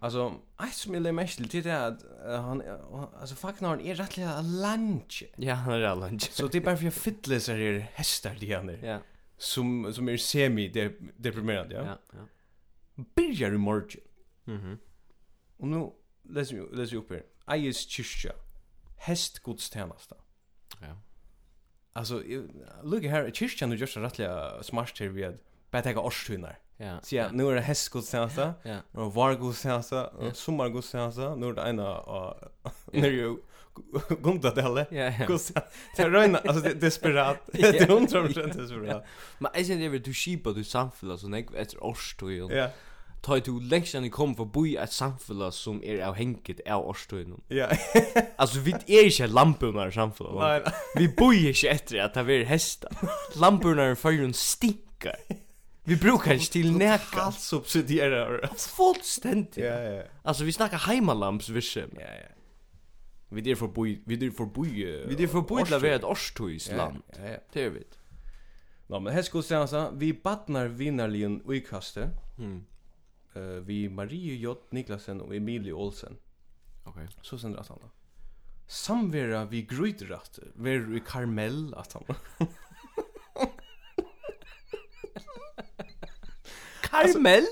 Speaker 2: Alltså, ett som jag lägger mest till det är att eh, han, han- alltså facknaren är rättliga lunch.
Speaker 3: Ja, han er alle ikke.
Speaker 2: Så det är bara för jag fyller så här er hästar det han är.
Speaker 3: Ja,
Speaker 2: Som, som är semi-deprimerande, ja.
Speaker 3: ja, ja.
Speaker 2: Börjar i morgon.
Speaker 3: Mhm.
Speaker 2: Och nu läser vi, läser vi upp här. Ejes kyrkja. Hästgodstjänasta.
Speaker 3: Ja.
Speaker 2: Alltså, lugga här, kyrkjan är just rättliga smart här vid att bara täcka årstunar.
Speaker 3: Ja.
Speaker 2: Så ja, nu är det hästgodstjänsta.
Speaker 3: Ja.
Speaker 2: Nu är det vargodstjänsta. Nu är det sommargodstjänsta. Nu är det ena av... Nu är det ju Gundadelle.
Speaker 3: Ja, ja.
Speaker 2: Godstjänsta. Det är röjna, alltså det är desperat. Det är hundra procent desperat.
Speaker 3: Men jeg synes det er du skipa du samfella som jeg etter årstøyen.
Speaker 2: Ja,
Speaker 3: Ta du lengst enn jeg kom for boi et samfella som er avhengig av årstøyen.
Speaker 2: ja.
Speaker 3: Altså, vi er ikke lampunar samfella.
Speaker 2: *laughs* Nej, nej.
Speaker 3: Vi boi ikke etter at det er hesta. Lampunar fyrir hun stinkar. Vi brukar ikke til neka.
Speaker 2: Allt subsidierar.
Speaker 3: Fullstendig.
Speaker 2: Ja, ja.
Speaker 3: Altså, vi snakkar heimalamsvisse.
Speaker 2: Ja, ja. Vi är förbi, vi är förbi.
Speaker 3: Vi er forboi til å være et årstøysland.
Speaker 2: Ja, ja.
Speaker 3: Det er vi.
Speaker 2: Nå, men här skulle jag säga, vi badnar vinnarligen uikaste.
Speaker 3: Mm.
Speaker 2: Eh vi Marie J. Niklasen och Emilie Olsen.
Speaker 3: Ok.
Speaker 2: Så sen att han då. Samvera vi grytrat, ver i karmell att han.
Speaker 3: Karmel?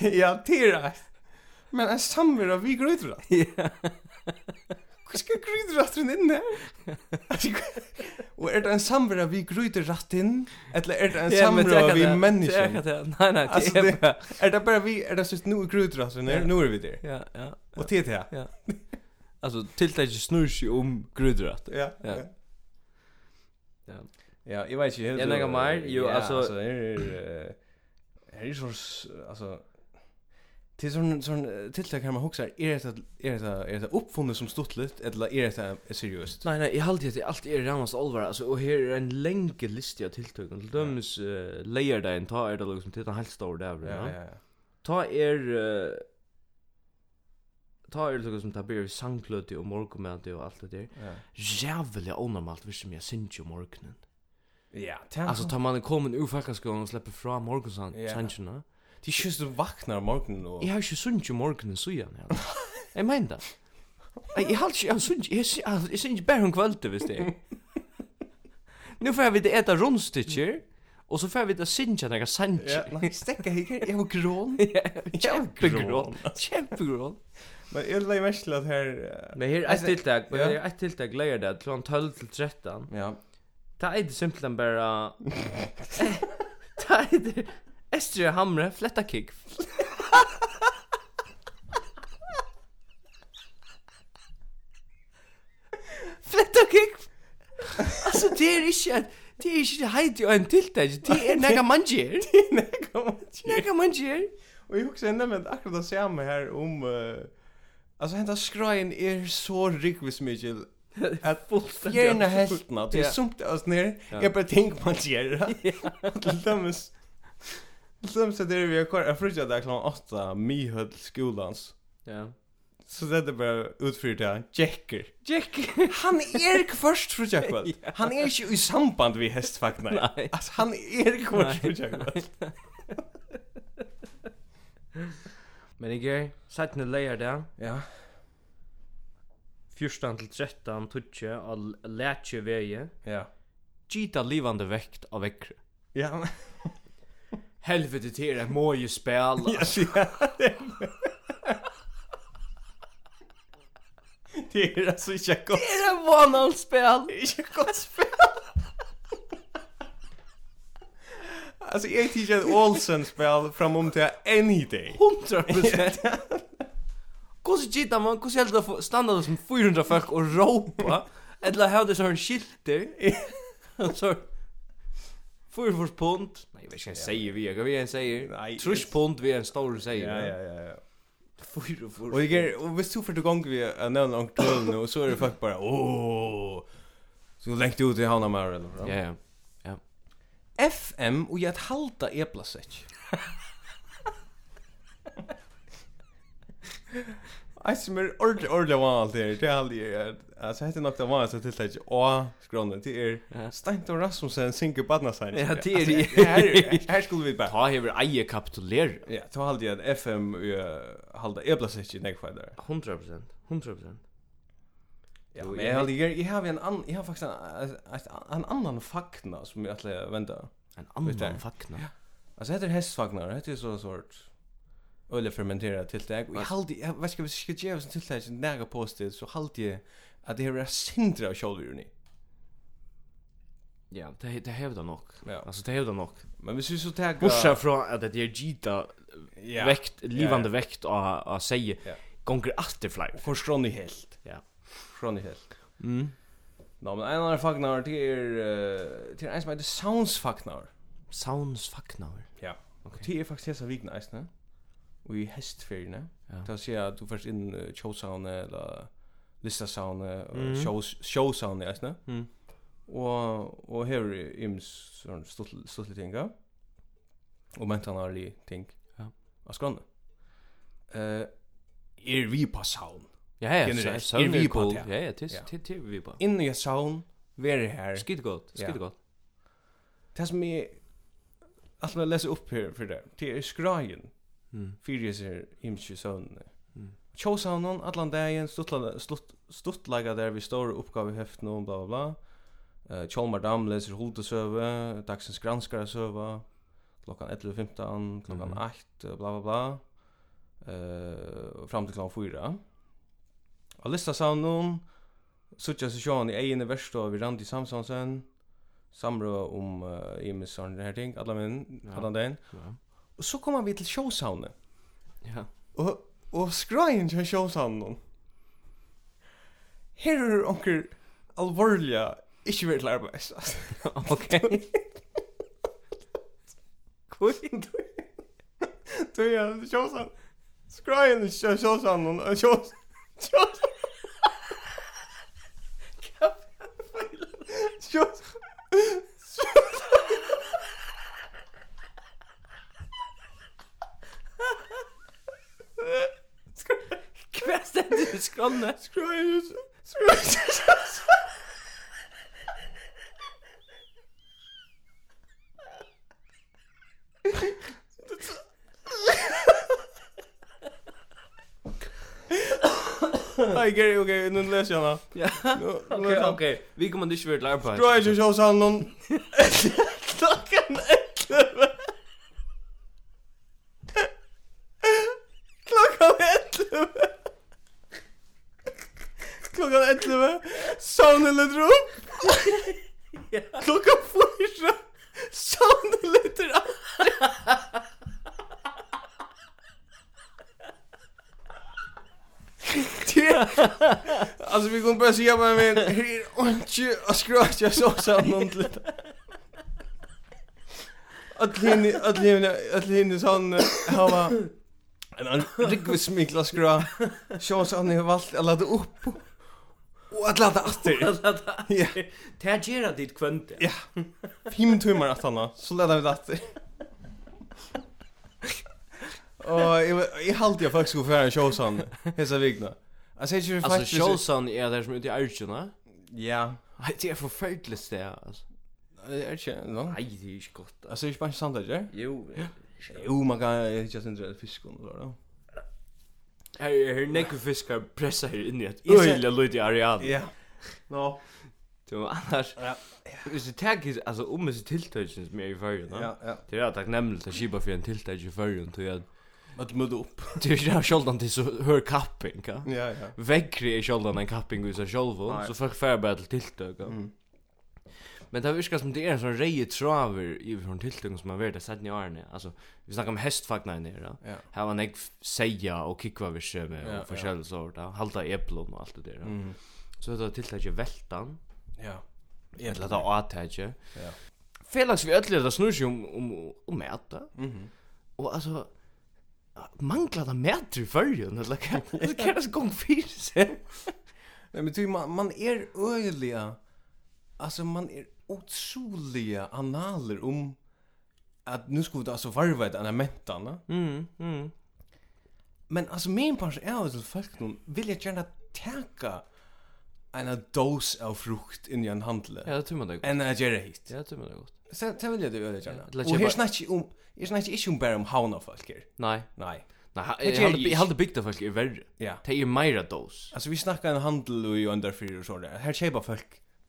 Speaker 2: ja, *laughs* tira. *laughs* Men en samvera vi grytrat.
Speaker 3: Ja.
Speaker 2: *laughs* Hur ska grytratten in *laughs* där? Och är det en samvera vi grytratten? Eller är det en samvera vi människan?
Speaker 3: Nei, nei,
Speaker 2: Alltså
Speaker 3: det er
Speaker 2: det *laughs* är det bara vi är det så nu grytrasen är
Speaker 3: Ja.
Speaker 2: nu är er- vi där.
Speaker 3: Ja, ja.
Speaker 2: Och det är det.
Speaker 3: Alltså tilltäcket snurr sig um om grudrat.
Speaker 2: Ja.
Speaker 3: Ja.
Speaker 2: Ja.
Speaker 3: Ja.
Speaker 2: Ja, jag vet inte. helt
Speaker 3: Jag lägger
Speaker 2: så-
Speaker 3: mig. Jo,
Speaker 2: ja,
Speaker 3: alltså-
Speaker 2: här är eh, här är sorts alltså till sån sån tilltag kan eh, man er huxa är det att är det att- är det uppfunnet er som stuttligt eller er eh, är det att- seriöst?
Speaker 3: Nej, nej, jag håller det allt är ramast allvar. Alltså och här är er en länge lista av tilltag. Till döms uh, layer där en ta är det liksom till den helt stor där.
Speaker 2: Ja,
Speaker 3: Ja.
Speaker 2: ja.
Speaker 3: Ta är eh, ta är det liksom ta blir sangklöte och morgonmöte och allt det där.
Speaker 2: Ja.
Speaker 3: Jävligt onormalt visst som jag syns ju morgonen.
Speaker 2: Ja, er tänk.
Speaker 3: Alltså tar man kommer ur fackskolan och släpper fram
Speaker 2: Ja.
Speaker 3: morgonsancherna.
Speaker 2: det är just du vaknar om morgonen och
Speaker 3: Jeg har ikke sunt jo morgenen søgjene her. Jeg mener det. Jeg jeg har ikke, jeg har sunt, jeg sy- jeg- jeg synes ikke bare om kvalitet, hvis det er. Nå får jeg vite eta rundstykker, og så får jeg vite synge når jeg *laughs*
Speaker 2: Ja,
Speaker 3: sanger.
Speaker 2: nej, stäcka här. Jag var
Speaker 3: *laughs*
Speaker 2: grån.
Speaker 3: Kjempegrån, kjempegrån.
Speaker 2: Men jag lägger mest till att här eh,
Speaker 3: Men her er et
Speaker 2: Altså,
Speaker 3: tiltak, men
Speaker 2: ja.
Speaker 3: her er et tiltak leier det, kl. 12 til 13.
Speaker 2: Ja.
Speaker 3: Ta er det simpelthen bare... Ta er det... Estrid Hamre, fletta kick. fletta kick! Altså, det er ikke... at- Det er ikke heit jo en tiltak, det er nega man gjer.
Speaker 2: Kom.
Speaker 3: Nega man gjer.
Speaker 2: Och jag också nämnde att akkurat det samma här om uh, alltså hända skrajen är så rikvis mycket att
Speaker 3: fullständigt
Speaker 2: Gärna hältna till
Speaker 3: Ja.
Speaker 2: sumt oss ner.
Speaker 3: Ja.
Speaker 2: Jag bara tänk man gör det. Till dömes. Till dömes att det är vi har kvar. Jag fruktar där klockan åtta. Mihöll skolans.
Speaker 3: Ja.
Speaker 2: Så det är er bara utfyrt det. Jacker.
Speaker 3: Jack.
Speaker 2: Han är först för Jackwell. Han är inte i er samband vid hästfaktorn.
Speaker 3: Nej.
Speaker 2: Alltså han är
Speaker 3: Nej.
Speaker 2: först för Jackwell.
Speaker 3: Men i gær, sættene leier det,
Speaker 2: Ja.
Speaker 3: 14 til 13 tutsi av lætje vei,
Speaker 2: Ja.
Speaker 3: gita livande vekt av vekre.
Speaker 2: Ja. men-
Speaker 3: Helvete til det er må jo spela.
Speaker 2: *laughs* Ja, så ja. Det är alltså inte gott.
Speaker 3: Det er en vanlig spel.
Speaker 2: Det är inte gott spel. Alltså jag tycker att Olsen spel framom till any day.
Speaker 3: 100%. Hvordan gita man, hvordan helst det for- standa det som 400 folk og råpa, eller hva det sånn skilter, så 400 pund, nei, jeg vet ikke hva jeg sier vi, er- hva vi en sier,
Speaker 2: Nei,
Speaker 3: 30 pund vi er en stor sier,
Speaker 2: Ja, ja, ja, ja.
Speaker 3: 400
Speaker 2: Och jag och visst så för det gång vi är någon långt kul nu och så är det faktiskt bara åh. Så längt ut i Hanna Mara eller vad.
Speaker 3: Ja, ja.
Speaker 2: FM och jag halta *laughs* eplasäck. Alltså mer ord ord jag var allt det det är aldrig alltså heter något var så till att å skronen till er
Speaker 3: Ja.
Speaker 2: Steint och Rasmussen synker badna sig.
Speaker 3: Ja, er det är-
Speaker 2: här här skulle vi bara.
Speaker 3: Ta hever eie kapitulera.
Speaker 2: Ja, då hade jag FM och halta eplasäck i Neckfighter.
Speaker 3: 100%. 100%.
Speaker 2: Ja,
Speaker 3: Jo,
Speaker 2: men
Speaker 3: jag
Speaker 2: jag har
Speaker 3: vet-
Speaker 2: ligger jag har en annan jag har faktiskt en, en, en annan fakna som jag att vänta.
Speaker 3: En
Speaker 2: Vet du?
Speaker 3: annan fakna.
Speaker 2: Alltså heter hästfagnar, det heter ju så er sort öle fermenterad tilltag. Och jag hade jag vad ska vi ska ge oss en tilltag som nära postet så hade jag att det här är sindra av kjolvurni.
Speaker 3: Ja, det det hever det nok.
Speaker 2: Ja.
Speaker 3: Alltså det hever det nok.
Speaker 2: Men vi så tagga
Speaker 3: Bortsett från att det är gita
Speaker 2: ja. veck
Speaker 3: vekt livande vekt att att säga
Speaker 2: Ja.
Speaker 3: gånger efter flyg.
Speaker 2: för skronni helt.
Speaker 3: Ja.
Speaker 2: Skronni helt.
Speaker 3: Mm.
Speaker 2: Nå, men en annan fagnar det är eh, det är en som heter sounds fagnar.
Speaker 3: Sounds fucknar.
Speaker 2: Ja.
Speaker 3: Okej.
Speaker 2: Det är faktiskt så er vikna isne. Och i hästfärgerna.
Speaker 3: Ja.
Speaker 2: Ja. Då ser jag att du först in uh, showsound eller listasound och
Speaker 3: Mm.
Speaker 2: show showsound isne.
Speaker 3: Mm.
Speaker 2: Och och här är ims sån stort stort tinga. Och men han har li ting.
Speaker 3: Ja.
Speaker 2: Vad ska han? Eh är vi på sound.
Speaker 3: Ja, ja,
Speaker 2: Generellt.
Speaker 3: så- så
Speaker 2: Är vi
Speaker 3: vi
Speaker 2: på
Speaker 3: på.
Speaker 2: det?
Speaker 3: Ja, ja, det
Speaker 2: Ja.
Speaker 3: är- det är vi på.
Speaker 2: In i sound very här.
Speaker 3: Skit gott,
Speaker 2: Ja.
Speaker 3: skit gott.
Speaker 2: Det som är att man läser upp här för det. Det är skrajen.
Speaker 3: Mm.
Speaker 2: er fyrir sér himsju søvnene.
Speaker 3: Mm.
Speaker 2: Tjósavnen, allan dagen, stuttla- stutt- stuttleika der vi store oppgave i heften og bla bla bla. Uh, Tjolmar Dam leser Hultesøve, Dagsens Granskare søve, klokkan 11.15, klokkan
Speaker 3: Mhm.
Speaker 2: 8, eh, bla bla bla. Uh, fram til klokkan 4. Og lista savnen, suttja seg sjåan i egen verstå vi Randi Samsonsen, samrø om uh, Imis og her ting, allan min,
Speaker 3: Ja.
Speaker 2: allan dagen.
Speaker 3: Ja.
Speaker 2: Og så kommer vi til tjósavnen. *laughs*
Speaker 3: Ja.
Speaker 2: Og, og skræin til sjåsanden. Her er onker alvorliga ikke vært til arbeids. *laughs* altså.
Speaker 3: Okej.
Speaker 2: Kvinn, du Du er sjåsand. Skræin til sjåsanden. og sjås- sjås- Sjås...
Speaker 3: Kvar ständer skrollna.
Speaker 2: Skræin til Skræin til sjåsanden. Nei, Gary, ok, nå leser jeg henne.
Speaker 3: Ja.
Speaker 2: Nå leser jeg
Speaker 3: Okej,
Speaker 2: henne.
Speaker 3: okej. Vi kommer inte vart larpa.
Speaker 2: Dra ikke sjå sann noen Klokken 11 Klokken 11 Klokken 11 Sovne litt rom Klokken 4 Sovne litt rom Alltså vi kommer börja säga vad men här är inte att skröka så sann någon lite Att hinna att hinna att hinna sån eh, hava En han rikvis smikla skra. Sjå så han har valgt att ladda upp. Och att ladda efter.
Speaker 3: *laughs*
Speaker 2: Ja.
Speaker 3: Det gjør at ditt kvønte.
Speaker 2: Ja. Fem timmar att han Så laddar vi det efter. Och jag, jag halte jag faktiskt gå för en showsan. Hesa vigna. Alltså jag tror
Speaker 3: Altså,
Speaker 2: faktiskt...
Speaker 3: Sjåsan er der som er ute i Arjuna.
Speaker 2: Ja.
Speaker 3: Nei, det er forferdelig sted, altså.
Speaker 2: Det är inte... No.
Speaker 3: Nei, det er ikke godt,
Speaker 2: Alltså
Speaker 3: altså.
Speaker 2: det är inte bara sant där.
Speaker 3: Jo,
Speaker 2: Jo, man kan inte ens dra fisk och så då.
Speaker 3: her er nekve fiskar pressa her inni et
Speaker 2: Oi.
Speaker 3: øyla lyd i areal.
Speaker 2: Ja. Nå.
Speaker 3: Jo, annars,
Speaker 2: Ja.
Speaker 3: hvis du tenker, altså, um om disse tiltøysen som er i Førjun,
Speaker 2: Ja, ja.
Speaker 3: det er takknemlig å kjipa for en tiltøys i Førjun, tog jeg,
Speaker 2: Att möta upp.
Speaker 3: det er ikke sjoldan til så hør kapping, ka?
Speaker 2: Ja, ja.
Speaker 3: Vekkri er sjoldan en kapping i seg sjolvun,
Speaker 2: Nei.
Speaker 3: så folk fær bare til tiltøy, ka?
Speaker 2: Mm.
Speaker 3: Men det virkar som det er en sånn reie traver i från tiltøy som har vært det sett i årene, altså, vi snakker om hestfagna i nere,
Speaker 2: Ja.
Speaker 3: Här var nägg seja och kickva vi sjöme
Speaker 2: Ja,
Speaker 3: och forskjellig sort. ja. Halta eplon och allt det där. ja.
Speaker 2: Mm.
Speaker 3: Så det tilltaget vältan.
Speaker 2: Ja.
Speaker 3: Jag lät att åtage.
Speaker 2: Ja.
Speaker 3: Felix vi öll det snur sig om om om mäta.
Speaker 2: Mhm.
Speaker 3: Och alltså manglar det mäter i följen eller
Speaker 2: *laughs*
Speaker 3: kan det kan det gång fyra.
Speaker 2: Nej men ty man, man är öjliga. Alltså man är otroliga analer om att nu ska vi alltså varva ett elementarna.
Speaker 3: Mm, mm.
Speaker 2: Men alltså min pars är att folk nu vill jag gärna täcka en dos av frukt in i en handel.
Speaker 3: Ja, det tror man det. gott.
Speaker 2: En att göra hit.
Speaker 3: Ja, det tror man det gott.
Speaker 2: Så så vill jag det öjliga
Speaker 3: Ja,
Speaker 2: gärna.
Speaker 3: lätt
Speaker 2: Och här
Speaker 3: köpa-
Speaker 2: snackar om är snackar inte om bara om hauna folk här.
Speaker 3: Nej.
Speaker 2: Nej.
Speaker 3: Nej, ha-
Speaker 2: Det
Speaker 3: jag
Speaker 2: gör
Speaker 3: hade
Speaker 2: jag
Speaker 3: jag hade byggt det faktiskt i värre.
Speaker 2: Ja.
Speaker 3: Det är ju mera dos.
Speaker 2: Alltså vi snackar en handel och ju under fyra och så där. Här köper folk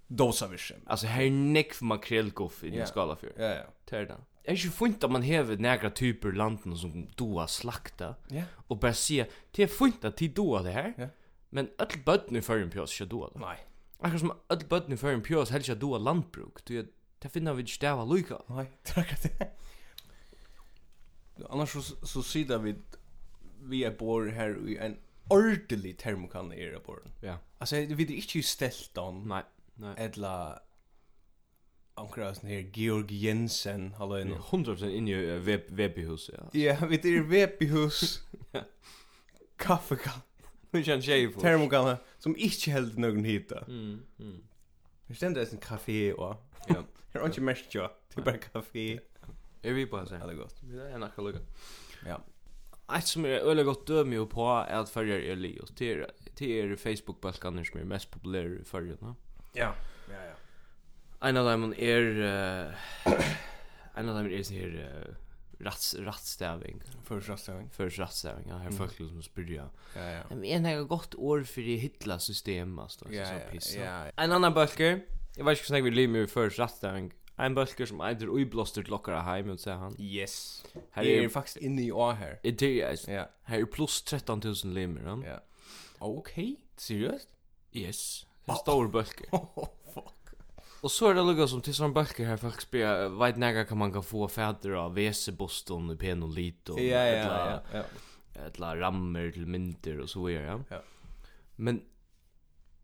Speaker 2: dosa vissen.
Speaker 3: Alltså er här näck för makrellgoff i
Speaker 2: Ja.
Speaker 3: en skala för.
Speaker 2: Ja ja.
Speaker 3: Tärna. Det är ju fint att man häver några typer landen som du har slakta
Speaker 2: Ja.
Speaker 3: och bara er se det är fint att de du har det här.
Speaker 2: Ja.
Speaker 3: Men all bötten i förrän pjås ska du det.
Speaker 2: Nej.
Speaker 3: Akkurat som all bötten i förrän pjås helst ska du har lantbruk. Du är Det finner vi inte stäva lika.
Speaker 2: *laughs* Nej, tack det. Annars så, så sidar vi vi er är bor här i en ordentlig er termokann i era bor.
Speaker 3: Ja.
Speaker 2: Alltså vi är inte ställt om
Speaker 3: Nej. Nej.
Speaker 2: Er eller ankra sån här Georg Jensen hallå
Speaker 3: En
Speaker 2: en.
Speaker 3: 100% in i eh, web webbhus ja.
Speaker 2: Ja, er vi är i *laughs* Vepihus. Kaffekann,
Speaker 3: Nu känns jag på.
Speaker 2: termokann som inte helt någon hitta.
Speaker 3: Mm. mm.
Speaker 2: Det ständer det är en kafé och *laughs*
Speaker 3: Ja.
Speaker 2: det är inte mest jag. Det är er bara kafé.
Speaker 3: Är vi på här?
Speaker 2: Ja,
Speaker 3: sen?
Speaker 2: det är gott.
Speaker 3: Vi är en akkurat lika.
Speaker 2: Ja.
Speaker 3: Ett som är öle er gott döm ju på är att följa er Leo. Det är det är Facebook-balkaner som är mest populära i följarna.
Speaker 2: Ja. Ja, ja.
Speaker 3: Ein av dem er uh, Ein av dem er sånn her uh, rats, Rattstaving
Speaker 2: Första
Speaker 3: Først rattstaving Ja, her
Speaker 2: Mm.
Speaker 3: folk liksom spyrja
Speaker 2: Ja, ja.
Speaker 3: Men en har gott år for i hitla system Altså,
Speaker 2: Ja,
Speaker 3: så
Speaker 2: ja,
Speaker 3: pissa
Speaker 2: ja, ja.
Speaker 3: Ein annan bøkker Jeg vet ikke hvordan jeg vil lime Først rattstaving Ein bøkker som eitir uiblåster til okkara heim Og sier han
Speaker 2: Yes.
Speaker 3: Her
Speaker 2: Jeg
Speaker 3: er
Speaker 2: er faktisk inne i år her.
Speaker 3: Er det er
Speaker 2: Ja.
Speaker 3: Her er pluss 13.000 limer han
Speaker 2: Ja. Okay. Seriøst?
Speaker 3: Yes En stor bøkker
Speaker 2: Oh, *laughs* fuck.
Speaker 3: Og så er det lukka som til sånne bøkker her folk spyr, eh, veit nega kan man kan få fædre av veseboston, penolito,
Speaker 2: Ja, ja, ja. Ja.
Speaker 3: etla rammer til mynter og så videre.
Speaker 2: Ja.
Speaker 3: Men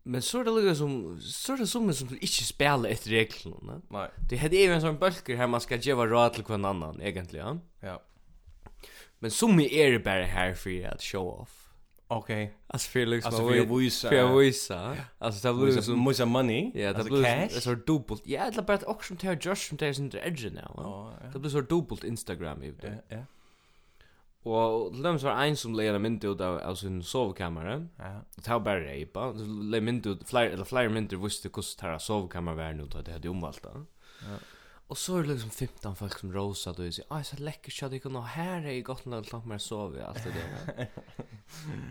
Speaker 3: men så er det lukka som så er det som som ikke spelar etter reglene. Ne?
Speaker 2: Nei.
Speaker 3: Det heter jo en sånn bøkker her man skal gjeva råd til hver annan egentlig. Ja?
Speaker 2: Ja.
Speaker 3: Men som er det bare her for at show off.
Speaker 2: Okay.
Speaker 3: Altså for liksom
Speaker 2: Altså for å vise-
Speaker 3: for å vise. Altså det blir
Speaker 2: Musa
Speaker 3: som
Speaker 2: musa money.
Speaker 3: Ja, det
Speaker 2: Altså,
Speaker 3: blir
Speaker 2: cash.
Speaker 3: så dubbelt. Ja, det er blir också som tar Josh som tar sin edge nu. Ja.
Speaker 2: Ja, ja.
Speaker 3: Det blir så dubbelt Instagram i det.
Speaker 2: Ja, ja.
Speaker 3: Og til dem så var det en som leger en mynd ut av, av sin sovekamera.
Speaker 2: Ja.
Speaker 3: Og det var bare reipa. Så leger mynd ut, flere, eller flere mynder visste hvordan det her sovekamera var nå, da det hadde omvalgt det.
Speaker 2: Ja.
Speaker 3: Og så er det liksom 15 folk som rosa og sier, «Ai, så lekkert så jeg kan nå her er jeg godt når jeg klart meg å sove», og alt det
Speaker 2: *laughs*
Speaker 3: der.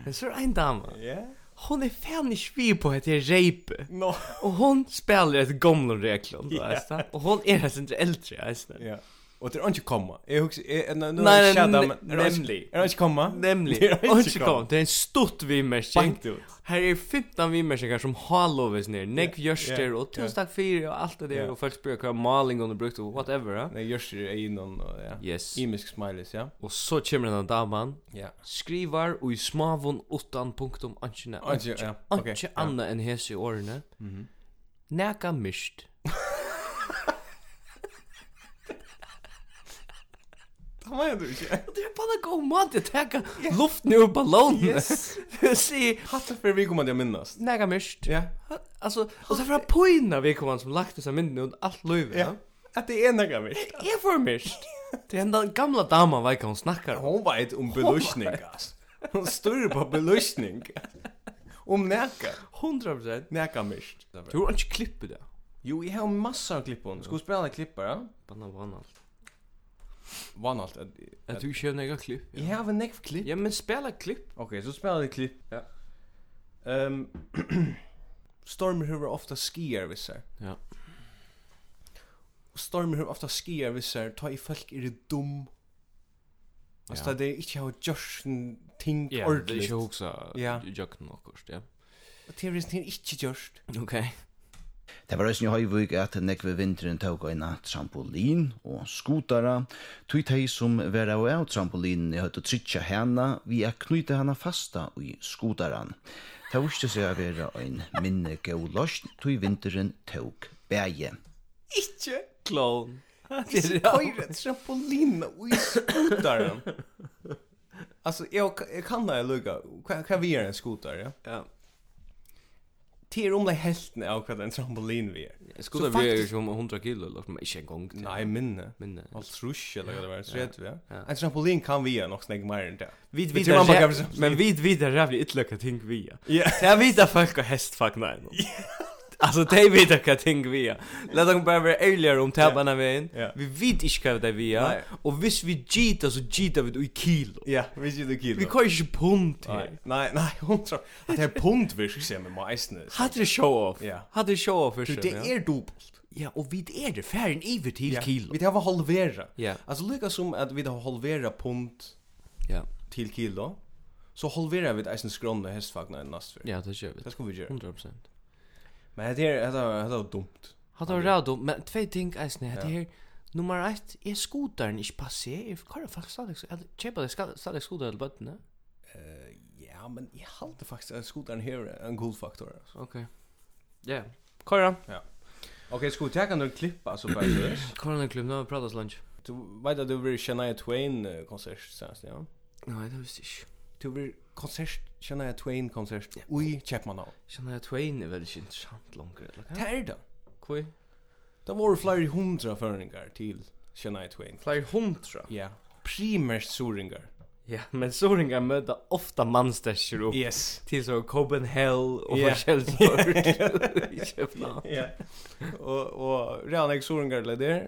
Speaker 3: Men så er det er en dame.
Speaker 2: Ja.
Speaker 3: Hon er fan ikke vi på at det er reipe.
Speaker 2: No.
Speaker 3: Og hon spiller et gamle reglon, du
Speaker 2: Ja.
Speaker 3: veist det. Og hon er en sin eldre, jeg veist det.
Speaker 2: Ja. Og det er ikke komma. Jeg husker jeg nei
Speaker 3: Nei, nei,
Speaker 2: Er det ikke-
Speaker 3: nemlig.
Speaker 2: Er det ikke komma?
Speaker 3: Nemlig,
Speaker 2: *laughs* Det er ikke
Speaker 3: og ikke kom,
Speaker 2: kommet.
Speaker 3: det er en stort vimmersing.
Speaker 2: Bankt ut.
Speaker 3: Her er 15 vimmersingar som har lovis ned, negg
Speaker 2: Ja,
Speaker 3: gjørster
Speaker 2: ja,
Speaker 3: og
Speaker 2: ja.
Speaker 3: tusen takk fyrir og alt det der,
Speaker 2: Ja.
Speaker 3: og folk spyrir hva maling hun har brukt og whatever. Ja.
Speaker 2: Nei, gjørs det i noen og ja.
Speaker 3: Yes.
Speaker 2: Imisk smileys, ja.
Speaker 3: Og så kommer denne damen,
Speaker 2: Ja.
Speaker 3: skrivar og i smavun utan punktum anskina,
Speaker 2: Anki, ja, ok,
Speaker 3: anki
Speaker 2: ja.
Speaker 3: anna enn hese i årene,
Speaker 2: Mhm.
Speaker 3: neka mist.
Speaker 2: Hva mener du ikke?
Speaker 3: Det er bara god mat att täcka luften ur ballonen. *laughs*
Speaker 2: Yes.
Speaker 3: Se,
Speaker 2: Hatta för vi kommer att minnas.
Speaker 3: näga mist.
Speaker 2: Ja.
Speaker 3: Alltså, och så er för att pojna vi kommer som lagt dessa minnen och allt löv.
Speaker 2: Ja. Att det är några mist.
Speaker 3: Det är för *laughs* mist. Det är den gamla damen vad hon snackar om.
Speaker 2: Hon vet om belysning, um ass. Hon styr på belysning. Om näka.
Speaker 3: 100%.
Speaker 2: Näka mist.
Speaker 3: Du har inte klippt det.
Speaker 2: Jo, jag har massor av klippon. Ska vi spela klippare?
Speaker 3: Banna vann allt.
Speaker 2: Vann allt. att-
Speaker 3: Att du kör några klipp. ja.
Speaker 2: Jag har en näck klipp.
Speaker 3: Ja, men spela klipp.
Speaker 2: Okej, så spelar vi klipp.
Speaker 3: Ja.
Speaker 2: Ehm *clears throat* Stormur hur ofta skier vissar.
Speaker 3: Ja.
Speaker 2: Och stormur hur ofta skier vissar, ta i folk är det dum. Alltså
Speaker 3: Ja.
Speaker 2: det är inte hur Justin ting
Speaker 3: Ja, det är
Speaker 2: ordentligt.
Speaker 3: ju också
Speaker 2: Ja.
Speaker 3: jökten och kost, ja.
Speaker 2: Och det är inte inte just.
Speaker 3: Okej.
Speaker 4: Det var eisen i Høyvøk at nekve vinteren tåg eina trampolin og skotara, tog teg som vera og av trampolinen i høyt å trytja hana, vi er knyta hana fasta i skotaran. Det viste seg å vera ein minne gaulost, tog vinteren tåg bæje.
Speaker 2: Inte.
Speaker 3: Clown.
Speaker 2: Det är ju trampolin och i skotaren. Alltså jag, jag kan det lugga. Kan kan vi göra en skotar, ja?
Speaker 3: Ja.
Speaker 2: Det är om det helten av vad en trampolin vi är.
Speaker 3: Jag skulle
Speaker 2: Så
Speaker 3: vi är ju
Speaker 2: faktiskt-
Speaker 3: som 100 kilo eller men inte en gång. till.
Speaker 2: Nej, minne.
Speaker 3: Men
Speaker 2: Allt trusch eller vad det var, så vet vi.
Speaker 3: Ja.
Speaker 2: En trampolin kan vi göra något snägg mer än det.
Speaker 3: Vi
Speaker 2: Vi
Speaker 3: vet
Speaker 2: tror man bara
Speaker 3: vi
Speaker 2: kan-
Speaker 3: er men er vi vet det jävligt ytterligare ting vi. Ja.
Speaker 2: Ja.
Speaker 3: Jag vet att folk har hästfackna än. Alltså det vet jag kan ting er. vi. ja. Låt dem bara vara ärligare om tabbarna vi in.
Speaker 2: Ja.
Speaker 3: Vi vet inte vad det vi är.
Speaker 2: Nej.
Speaker 3: Och visst vi gitar så gitar vi i kilo.
Speaker 2: Ja, vi ser det kilo.
Speaker 3: Vi kan ju inte pund
Speaker 2: Nej,
Speaker 3: här.
Speaker 2: nej, nej, hon tror att det är pundvisk ser med majsne.
Speaker 3: Hade det show off.
Speaker 2: Ja.
Speaker 3: Hade det show off för
Speaker 2: Du,
Speaker 3: sig.
Speaker 2: det är dubbelt.
Speaker 3: Ja, och vi är det färden över till kilo.
Speaker 2: Vi tar var halvera.
Speaker 3: Ja.
Speaker 2: Alltså lika som att vi tar halvera pund
Speaker 3: Ja.
Speaker 2: till kilo, så halverar vi eisen skronne hästfagna i nästa
Speaker 3: Ja, det kör vi.
Speaker 2: Det ska vi göra.
Speaker 3: 100%.
Speaker 2: Men er- det är det är det är dumt.
Speaker 3: Hade du rädd om, um, men två ting är snett ja. här. Nummer ett, är skotaren inte passé? Er- Kan du faktiskt stadig, eller köpa dig stadig skotaren eller bötterna?
Speaker 2: Eh, Ja, men jag håller faktiskt att skotaren här är en god faktor. alltså.
Speaker 3: Okej. Ja. Kora.
Speaker 2: Okej, ska vi ta kan du klippa er så bara så.
Speaker 3: Kora den klubben har pratat lunch.
Speaker 2: Du vet att du vill Shania Twain eh, konsert sen, ja.
Speaker 3: Nej, det visste jag inte.
Speaker 2: Du vill konsert Shania Twain konsert i Chapmanau.
Speaker 3: Känner jag Twain är väldigt intressant långt.
Speaker 2: Det är det.
Speaker 3: Kvoi.
Speaker 2: Det var flere hundra føringar til Shania Twain.
Speaker 3: Flyer hundra.
Speaker 2: Ja. Primært soringar.
Speaker 3: Ja, men så ringar möta ofta manstärscher upp.
Speaker 2: Yes.
Speaker 3: Till så Copenhagen och
Speaker 2: Ja.
Speaker 3: *laughs* Källsford. I Köpenhamn.
Speaker 2: Ja. og og real ek soringar le der.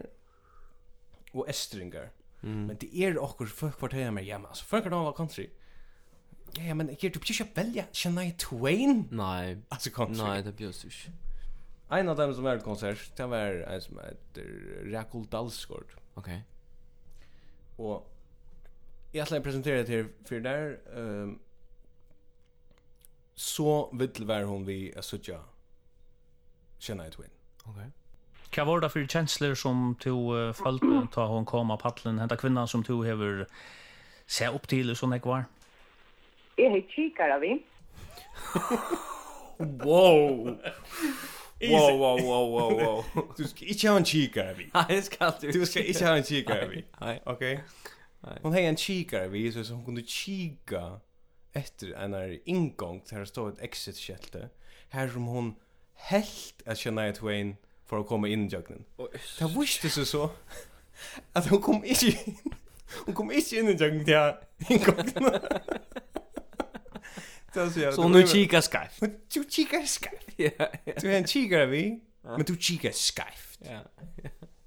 Speaker 2: Og estringar. Men det er okkur folk kvartera med hjemme. Altså folk kan var country. Ja, ja, men jeg gir du ikke velja Shania Twain?
Speaker 3: Nej.
Speaker 2: Altså country.
Speaker 3: Nej, det bjöds inte.
Speaker 2: Ein av dem som var i konsert, det var en som heter Rakul Dalsgård.
Speaker 3: Okej.
Speaker 2: Og jeg ætla å presentere til fyrir der um, Så vill være hon vi er suttja Kjenna i Twin
Speaker 3: Okej.
Speaker 5: Hva var det for kjensler som du uh, følte da hun kom av paddelen? Henta kvinnan som du hever se opp til, sånn jeg var?
Speaker 6: Jeg heter Kikara, vi.
Speaker 3: Wow. Wow, wow, wow, wow, *laughs* wow.
Speaker 2: Du skal ikke ha en kikar vi
Speaker 3: Nej, det ska du.
Speaker 2: Du skal ikke ha en kikar vi
Speaker 3: Nej.
Speaker 2: Ok Hon hei en kikar vi Så så hon kunne kika Etter en her inngång Her stod et exit skelte Her som hon helt at Kjenna i Twin For å komme inn i jøgnen Det visste seg så at hun kom ikke inn. Hun kom ikke inn i jøkken til jeg inngående.
Speaker 3: Så nu kika skyf.
Speaker 2: Men du kikar skeivt.
Speaker 3: Ja, ja.
Speaker 2: Du er en kikar vi, men du kikar skeivt.
Speaker 3: Ja.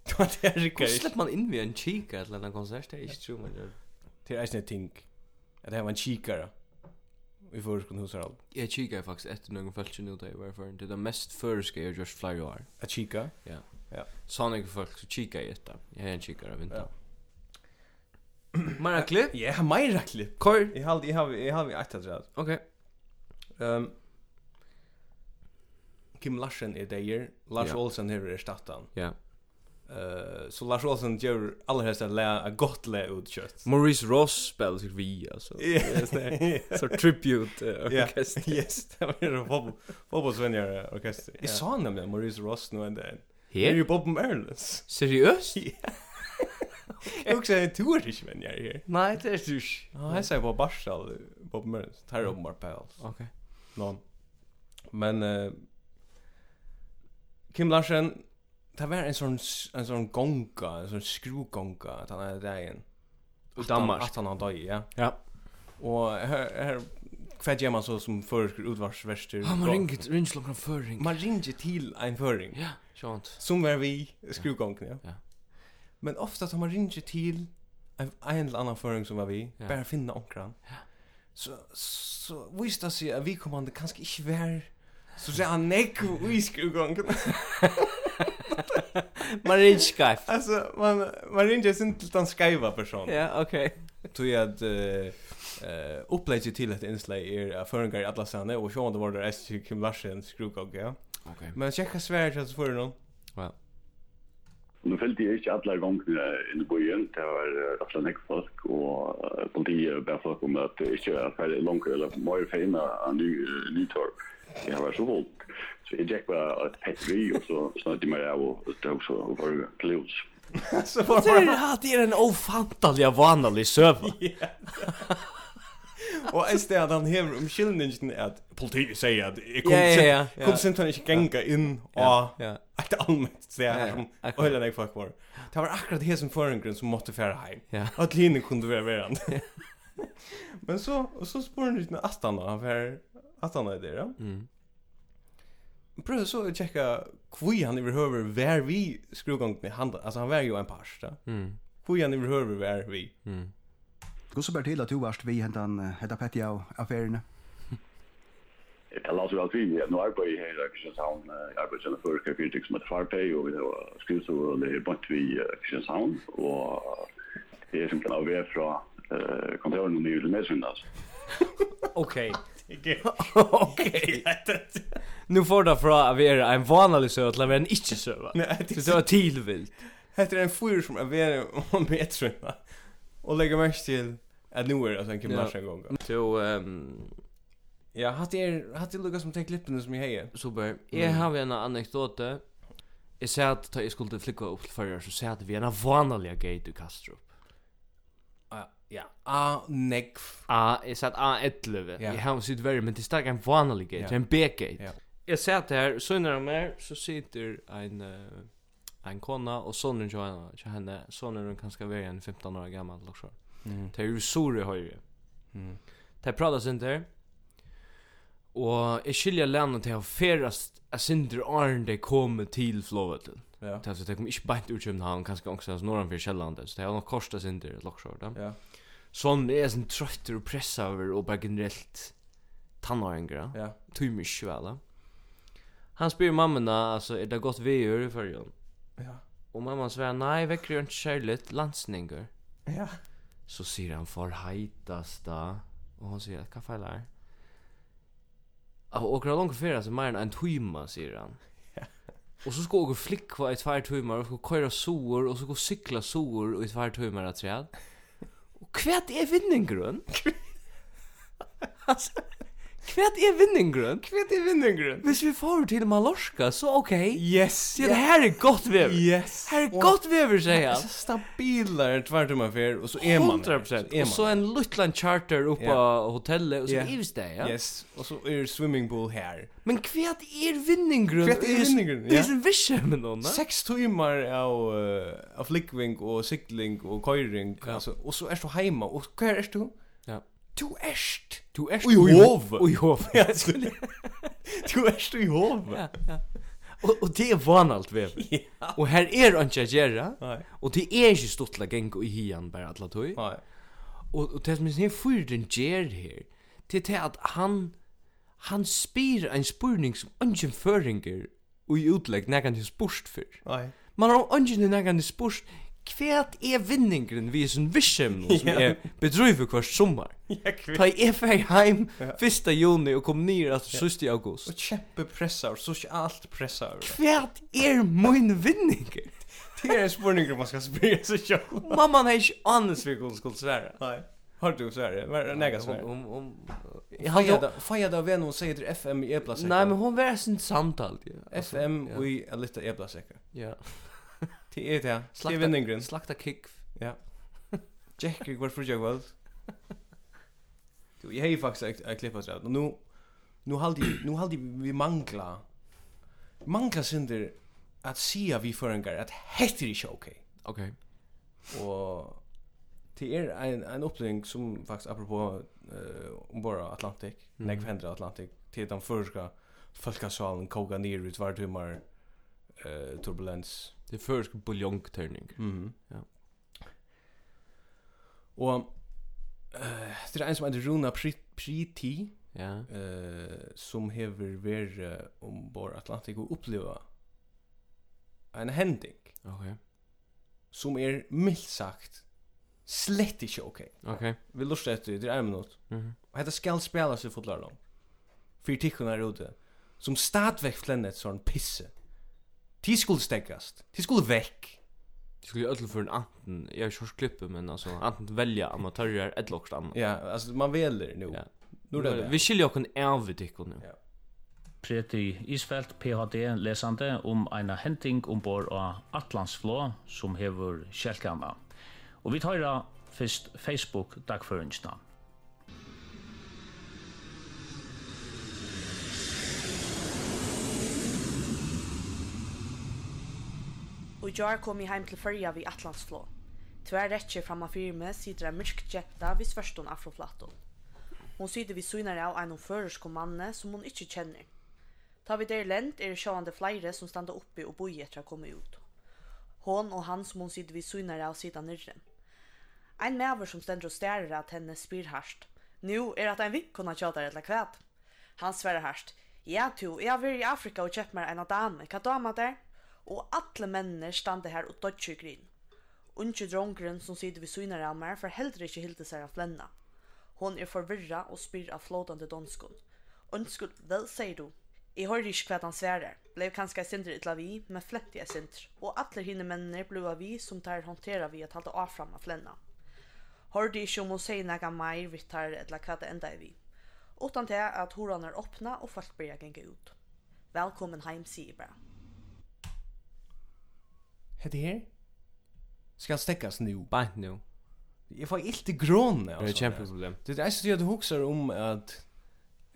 Speaker 2: Du har det
Speaker 3: Hur
Speaker 2: rikker ikke.
Speaker 3: släpper man in vid en kika eller en konsert? Det är inte tror man gör.
Speaker 2: Det er eisne ting. At det her var en kikar. Vi får skåne hos Harald.
Speaker 3: Jag kikar faktiskt efter någon fältje nu där jag var förrän. Det är det mest förska jag görs flera år.
Speaker 2: A kika.
Speaker 3: Ja.
Speaker 2: Ja.
Speaker 3: Sannolikt folk så kikar jag detta. Jag är en kikare av vinter. Mara klipp?
Speaker 2: Ja, meira klipp.
Speaker 3: Kor?
Speaker 2: Jeg har jeg har jeg har vi ættet det.
Speaker 3: Okej.
Speaker 2: Ehm Kim Larsen er der. Lars
Speaker 3: Ja.
Speaker 2: Olsen her er statan.
Speaker 3: Ja.
Speaker 2: Eh, så Lars Olsen gör allra helst att lära ett gott lä ut
Speaker 3: *laughs*
Speaker 2: kött.
Speaker 3: Maurice Ross spelar sig vi *laughs* alltså.
Speaker 2: Yes,
Speaker 3: Så tribute eh, orkester. *laughs*
Speaker 2: Yes, *laughs* det var en fotboll fotbollsvänner orkester. Jag sa Er- nämligen Maurice Ross nu ända. Det är
Speaker 3: Här?
Speaker 2: ju Bob Merlins.
Speaker 3: Seriöst?
Speaker 2: Ja. Jag också en turisch men jag är här.
Speaker 3: Nei, det er du ikke.
Speaker 2: Ja, jag säger på Barsal på Mörns. Tar upp mer på alls.
Speaker 3: Mm. Ok.
Speaker 2: Någon. Men eh Kim Larsen Det var en sån en sån gonga, en sån skruvgonga att han hade dagen.
Speaker 3: I Danmark.
Speaker 2: Att han hade ja.
Speaker 3: Ja.
Speaker 2: Och här här kvad gör man så som försker utvarsvärster.
Speaker 3: Han må ringe til Rinslo fra Føring.
Speaker 2: Man ringer till en föring.
Speaker 3: Ja, sjant.
Speaker 2: Som var vi skruvgången, ja.
Speaker 3: Ja.
Speaker 2: Men ofta tar man ringer till en, en eller annan föring som var vi,
Speaker 3: Ja.
Speaker 2: bara finna onkran. Så, så visste det sig att vi kommande kanske inte var så säger han nej i *laughs* skruvgången.
Speaker 3: Man ringer Skype.
Speaker 2: alltså, man, man ringer sin till den skaiva personen.
Speaker 3: *laughs* Ja, ok.
Speaker 2: Tog jag att uh, uh, upplägget till ett inslag är att föringar i alla sanne och så var det S. Kim Larsen skruvgången, ja.
Speaker 3: Ok.
Speaker 2: Men tjekka svärt att föringar någon.
Speaker 3: Ja.
Speaker 7: Nu fyllte jeg ikke alle gangene inn i byen. Det var eh, rett og slett ikke folk, og eh, politiet ber folk om at det ikke er ferdig langt eller mer feina av ny, eh, Nytorp. Jeg var så holdt. Så jeg gikk bare et petteri, og så snakket jeg meg av og det var så var det klivs.
Speaker 2: *laughs* Så var
Speaker 3: Det er, ja, det er en ofantalig vanlig søvn.
Speaker 2: Og en sted at han hever om skyldningen er at politiet sier at jeg kom
Speaker 3: Ja, ja, ja,
Speaker 2: sin- kom
Speaker 3: ja.
Speaker 2: sint han ikke genga inn og
Speaker 3: Ja.
Speaker 2: et allmett sted
Speaker 3: ja,
Speaker 2: her som
Speaker 3: akkurat.
Speaker 2: øyla nek folk var. Det var akkurat det som forengren som måtte fære heim.
Speaker 3: Ja.
Speaker 2: Og at henne kunne være verand. *laughs* Men så, og så spår han uten Astana, han fær Astana i det, ja.
Speaker 3: Mm.
Speaker 2: Prøvde så å tjekka hvor han overhøver vær vi skrugongene handa. Altså han var jo en pars, da.
Speaker 3: Mm.
Speaker 2: Hvor han overhøver vær vi.
Speaker 3: Mm.
Speaker 8: Hvordan ber til at du varst vi hentan hetta Petty av affærene?
Speaker 7: Jeg la så alt vi, jeg nå arbeid i her i Kristianshavn, eh, jeg arbeid som før kjøkker til som heter Farpei, og det var skrivsord, og det er bort vi i eh, Kristianshavn, og det er som kan av vei fra eh, kontoren og nye til Medsund, altså.
Speaker 3: Ok. ok. Nu får det fra at vi er en vanlig søvn til at vi er en ikke-søvn.
Speaker 2: Nei, det
Speaker 3: Det var tilvilt.
Speaker 2: Hetta er ein fyr som er veri om betrunna. Og leggja merke til at nu er altså en Kim
Speaker 3: Ja.
Speaker 2: Larsen gång.
Speaker 3: Så, ehm,
Speaker 2: Ja, hatt er hatt er lukka som tek klippene som jeg heier.
Speaker 3: super. Jeg har en anekdote. Jeg sa at da jeg skulle flykke opp til førre, så sa jeg at vi er en vanlig gate i Kastrup.
Speaker 2: Ja. A negv.
Speaker 3: A, jeg sa at A11.
Speaker 2: Ja.
Speaker 3: Jeg har sitt verre, men det er sterk en vanlig gate,
Speaker 2: Ja.
Speaker 3: det er en B-gate.
Speaker 2: Ja.
Speaker 3: Jeg sa at her, så innan mer, så sitter en, uh, en kona, og sonen til henne, til henne sonen hun kan skal være en 15 år gammel, og så.
Speaker 2: Mm.
Speaker 3: Det er jo sore høyre.
Speaker 2: Mm.
Speaker 3: Det er prata sinter. Og jeg skiljer landet til å ferast a sinter åren det kommer til flåvetlen.
Speaker 2: Ja.
Speaker 3: Det er altså, det kommer ikke beint ut København, kanskje også norranfyr Kjellandet, så det er nok korsta sinter loksjord. Ja.
Speaker 2: Ja.
Speaker 3: Sånn er jeg sånn trøtter og pressa over og bare generelt tannåringer.
Speaker 2: Ja.
Speaker 3: Tog meg ikke vel. da. Han spyr mammena, altså, er det godt vi gjør i førjen?
Speaker 2: Ja.
Speaker 3: Og mamma svarer, nei, er vekker jo ikke kjærlig, landsninger.
Speaker 2: Ja.
Speaker 3: Så sier han for heitasta, og hun sier, hva feil er? Og åker han langt fyrir, altså, mer enn en tuima, sier han. Og så skal åker flikva i tvær tuimar, og skal køyra soer, og så skal sykla soer i tvær tuimar at træd. Og hvert er vinningrunn? altså, hvert er vinningrunn?
Speaker 2: Kvet i vinningren.
Speaker 3: Hvis vi får til Mallorca, så ok.
Speaker 2: Yes.
Speaker 3: Sier det her er godt vever.
Speaker 2: Yes.
Speaker 3: Her er godt vever, sier han.
Speaker 2: Så stabilar tvart om affär och så är man.
Speaker 3: 100%.
Speaker 2: Så är
Speaker 3: Och så
Speaker 2: man.
Speaker 3: en liten charter upp på
Speaker 2: er Ja.
Speaker 3: hotellet och så
Speaker 2: Ja.
Speaker 3: yeah. ivs det, ja.
Speaker 2: Yes. Och så är swimming pool här.
Speaker 3: Men kvärt er vinninggrund.
Speaker 2: Kvet i vinningren.
Speaker 3: Det
Speaker 2: Ja.
Speaker 3: är en visse med någon. va?
Speaker 2: Sex timmar av eh, av flickving och cykling och köring
Speaker 3: Ja.
Speaker 2: alltså och så är du hemma och kvar är du?
Speaker 3: Ja.
Speaker 2: Du är
Speaker 3: Du är
Speaker 2: Oj, hov.
Speaker 3: Oj hov.
Speaker 2: *laughs*
Speaker 3: *laughs*
Speaker 2: Ja, skulle Du är ju i hov.
Speaker 3: Ja, ja. Och och det er är vanligt
Speaker 2: *laughs*
Speaker 3: väl. Och här är inte att göra.
Speaker 2: Nej.
Speaker 3: Och det är ju stort lag gäng och i hian bara alla tog.
Speaker 2: Nej.
Speaker 3: Och och det som är fyrden ger här. Det är det att han han spyr en spurning som ungen föringer och i utlägg när han är spurst för.
Speaker 2: Nej.
Speaker 3: Man har ungen i nægan spurs Kvært er vinningren vi sin *laughs* vissim nu, som
Speaker 2: Ja.
Speaker 3: er bedrøyve hver sommar.
Speaker 2: Jag kvitt.
Speaker 3: Ta jeg fer heim 1. juni og kom nir at 7. august.
Speaker 2: Och kämpe pressar, så är allt pressar.
Speaker 3: Kvært er mun vinninger.
Speaker 2: Det är en spurning man ska spela så själv.
Speaker 3: Mamma har ikke anes vi kunne skulle svære.
Speaker 2: Nej. Har du så här? Vad är nägas
Speaker 3: Om,
Speaker 2: för?
Speaker 3: om, om,
Speaker 2: Fajada, fajada vem hon säger till FM i e-plasäcken.
Speaker 3: Nei, men hun var sin samtalt, ja. Altså,
Speaker 2: FM
Speaker 3: ja. E
Speaker 2: och i en liten e-plasäcken.
Speaker 3: Ja.
Speaker 2: Det är det. Det är
Speaker 3: Slakta,
Speaker 2: vinningren.
Speaker 3: slakta kikv.
Speaker 2: Ja. Jack gick vart för jag väl. Du, jag har faktiskt ett klipp att Och nu nu hade nu hade vi mangla. Mangla synder att se vi för en grej att heter det okej.
Speaker 3: Okej.
Speaker 2: Och till er en en upplevelse som faktiskt apropå eh ombord av Atlantic, mm. när händer Atlantic er till den första folkasalen koka ner ut vart humor eh turbulens.
Speaker 3: Det är först buljongtörning.
Speaker 2: Mhm.
Speaker 3: Ja.
Speaker 2: Och eh det är en som heter Runa Pri- Priti
Speaker 3: Ja.
Speaker 2: eh som hever ver ombord Atlantic och uppleva en händing
Speaker 3: Okej.
Speaker 2: som är milt sagt slett inte okej.
Speaker 3: Okej.
Speaker 2: Vi lustar efter det, det är en minut.
Speaker 3: Mhm.
Speaker 2: Och detta ska spelas i fotlarlång. För tickorna är ute. Som stadväck flännet sån pisse. Ti skulle stäckast. Ti skulle väck.
Speaker 3: Det skulle ju öll för en anten. Jag har kört klippet men alltså anten välja amatörer ett lockst annat.
Speaker 2: Ja, alltså man väljer nu.
Speaker 3: Ja. er
Speaker 2: Nu är det
Speaker 3: Vi
Speaker 2: det.
Speaker 3: skiljer oss en av vid ikon nu.
Speaker 2: Ja.
Speaker 5: Preti Isfeldt, PhD, lesande om eina hending ombord av Atlantsflå som hever kjelkana. Og vi tar da først Facebook-dagføringsna.
Speaker 9: Og jeg kom jeg hjem til førja vi Atlantsflå. Tvær rettje framme fyrir meg sitter en mørk jenta vi svørstånd afroflaton. Hon sitter vi synar av en føresko manne som hon ikkje kjenner. Ta vi der lent er det sjående flere som standa oppi og boi etter å komme ut. Hon og han som hon sitter vi synar av sitter nyrre. Ein maver som stender og stærer at henne spyr harst. Nu er at ein vikkona tjatar eller kvæt. Han sverar harst. Ja, tu, jeg har vært i Afrika og kjøpt meg en dame. Hva dame der? Og alle mennene stande her og dodger i grin. Unge drongren som sitter ved syner av meg for heller ikke hilde seg av flenna. Hon er forvirra og spyr av flåtande donskon. Ønskul, vel, sier du. Jeg hører ikke hva han sverer. Blev kanskje jeg sindre ytla vi, men flett jeg sindre. Og alle hinne mennene blev av vi som tar håndtera vi at halte avfram av flenna. Hørte ikke om hun sier noe mer vi tar eller hva det enda er vi. Utan til at horan er åpna og folk blir genge ut. Velkommen heim, sier jeg bare.
Speaker 2: Hette her? Ska stäckas nu.
Speaker 3: Bant nu.
Speaker 2: Jag får inte grån.
Speaker 3: Det är ett kämpeproblem.
Speaker 2: Det är så att du huxar om att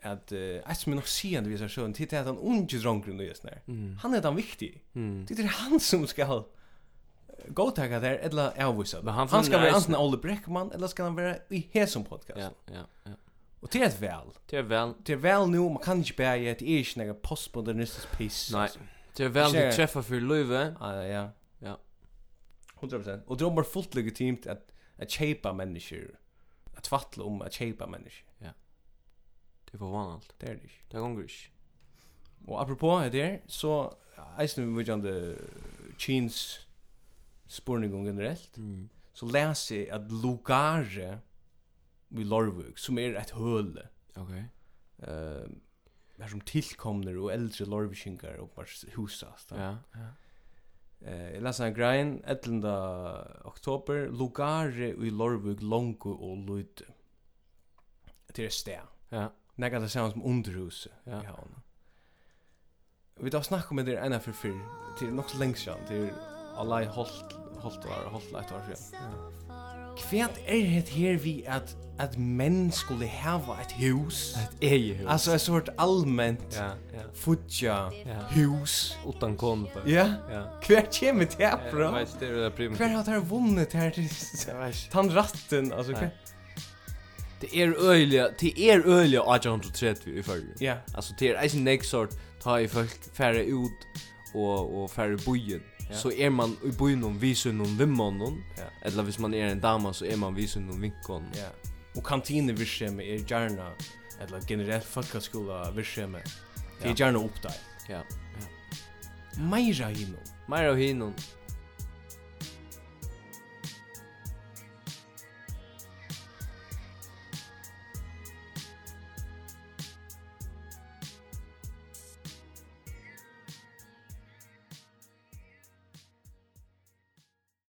Speaker 2: att um eh som nog ser det visar sjön titta att han onge drunken nu just när. Han är den er viktig. er
Speaker 3: Mm.
Speaker 2: Det är han som ska gå tagga där eller avvisa.
Speaker 3: Men
Speaker 2: Han,
Speaker 3: han
Speaker 2: han ska
Speaker 3: finner
Speaker 2: vara
Speaker 3: eisen-
Speaker 2: antingen Olle Breckman eller ska han vara i Hesum podcast. er
Speaker 3: Ja, ja, ja. er
Speaker 2: Och det är ett väl.
Speaker 3: Det är väl.
Speaker 2: Det är väl nu man kan inte bära ett är inte några er postmodernistisk piss.
Speaker 3: Nej. Det är väl
Speaker 2: Kjær.
Speaker 3: du träffar för löve.
Speaker 2: Ja, ja.
Speaker 3: Ah, Ja.
Speaker 2: 100%. Och det är bara fullt legitimt att att chepa människor. Att fattla om att chepa människor.
Speaker 3: Det var vanligt.
Speaker 2: Det är det. inte.
Speaker 3: Det går inte.
Speaker 2: Og apropos det her, så eisen vi vudjande Kins eh, spurning generelt,
Speaker 3: Mm.
Speaker 2: så leser jeg at Lugare i Lorvuk, som er et høle,
Speaker 3: Okej.
Speaker 2: uh, her som tilkomner og eldre lorvikingar og bare husast.
Speaker 3: Ja, ja.
Speaker 2: Eh, jeg leser en grein, 11. oktober, Lugare i Lorvuk, Longo og Lude. Det er et sted.
Speaker 3: Ja.
Speaker 2: Nei, det ser som underhuset
Speaker 3: Ja.
Speaker 2: i havnen. Vi tar snakk om det ena for fyr, til nok så er lengst er siden, til alle i holdt, holdt var, holdt leit var siden. Hva er det her vi at, at menn skulle hava et hus?
Speaker 3: Ej hus.
Speaker 2: Altså, et sort allment
Speaker 3: Ja, ja.
Speaker 2: futja
Speaker 3: Ja.
Speaker 2: hus.
Speaker 3: Utan konfa.
Speaker 2: Ja,
Speaker 3: Ja. Eh,
Speaker 2: hver kjem det her
Speaker 3: Jag
Speaker 2: fra?
Speaker 3: vet det är det där prim.
Speaker 2: Hver har der vunnet her til tann ratten? Altså, hver?
Speaker 3: Nei. Det är öliga, det är öliga 1830 i förr.
Speaker 2: Ja,
Speaker 3: Alltså det är eisen nek sort ta i folk färre ut och och färre bojen.
Speaker 2: Ja.
Speaker 3: Så är man i bojen om visar någon vimman
Speaker 2: Ja.
Speaker 3: Eller hvis man är en dama så är man visar någon vinkon.
Speaker 2: ja. Og kantinevirksemi er gjerna, eller generelt folkaskola virksemi, det
Speaker 3: Ja.
Speaker 2: er gjerna oppdag.
Speaker 3: Ja.
Speaker 2: Meira hinum.
Speaker 3: Mer av hinon.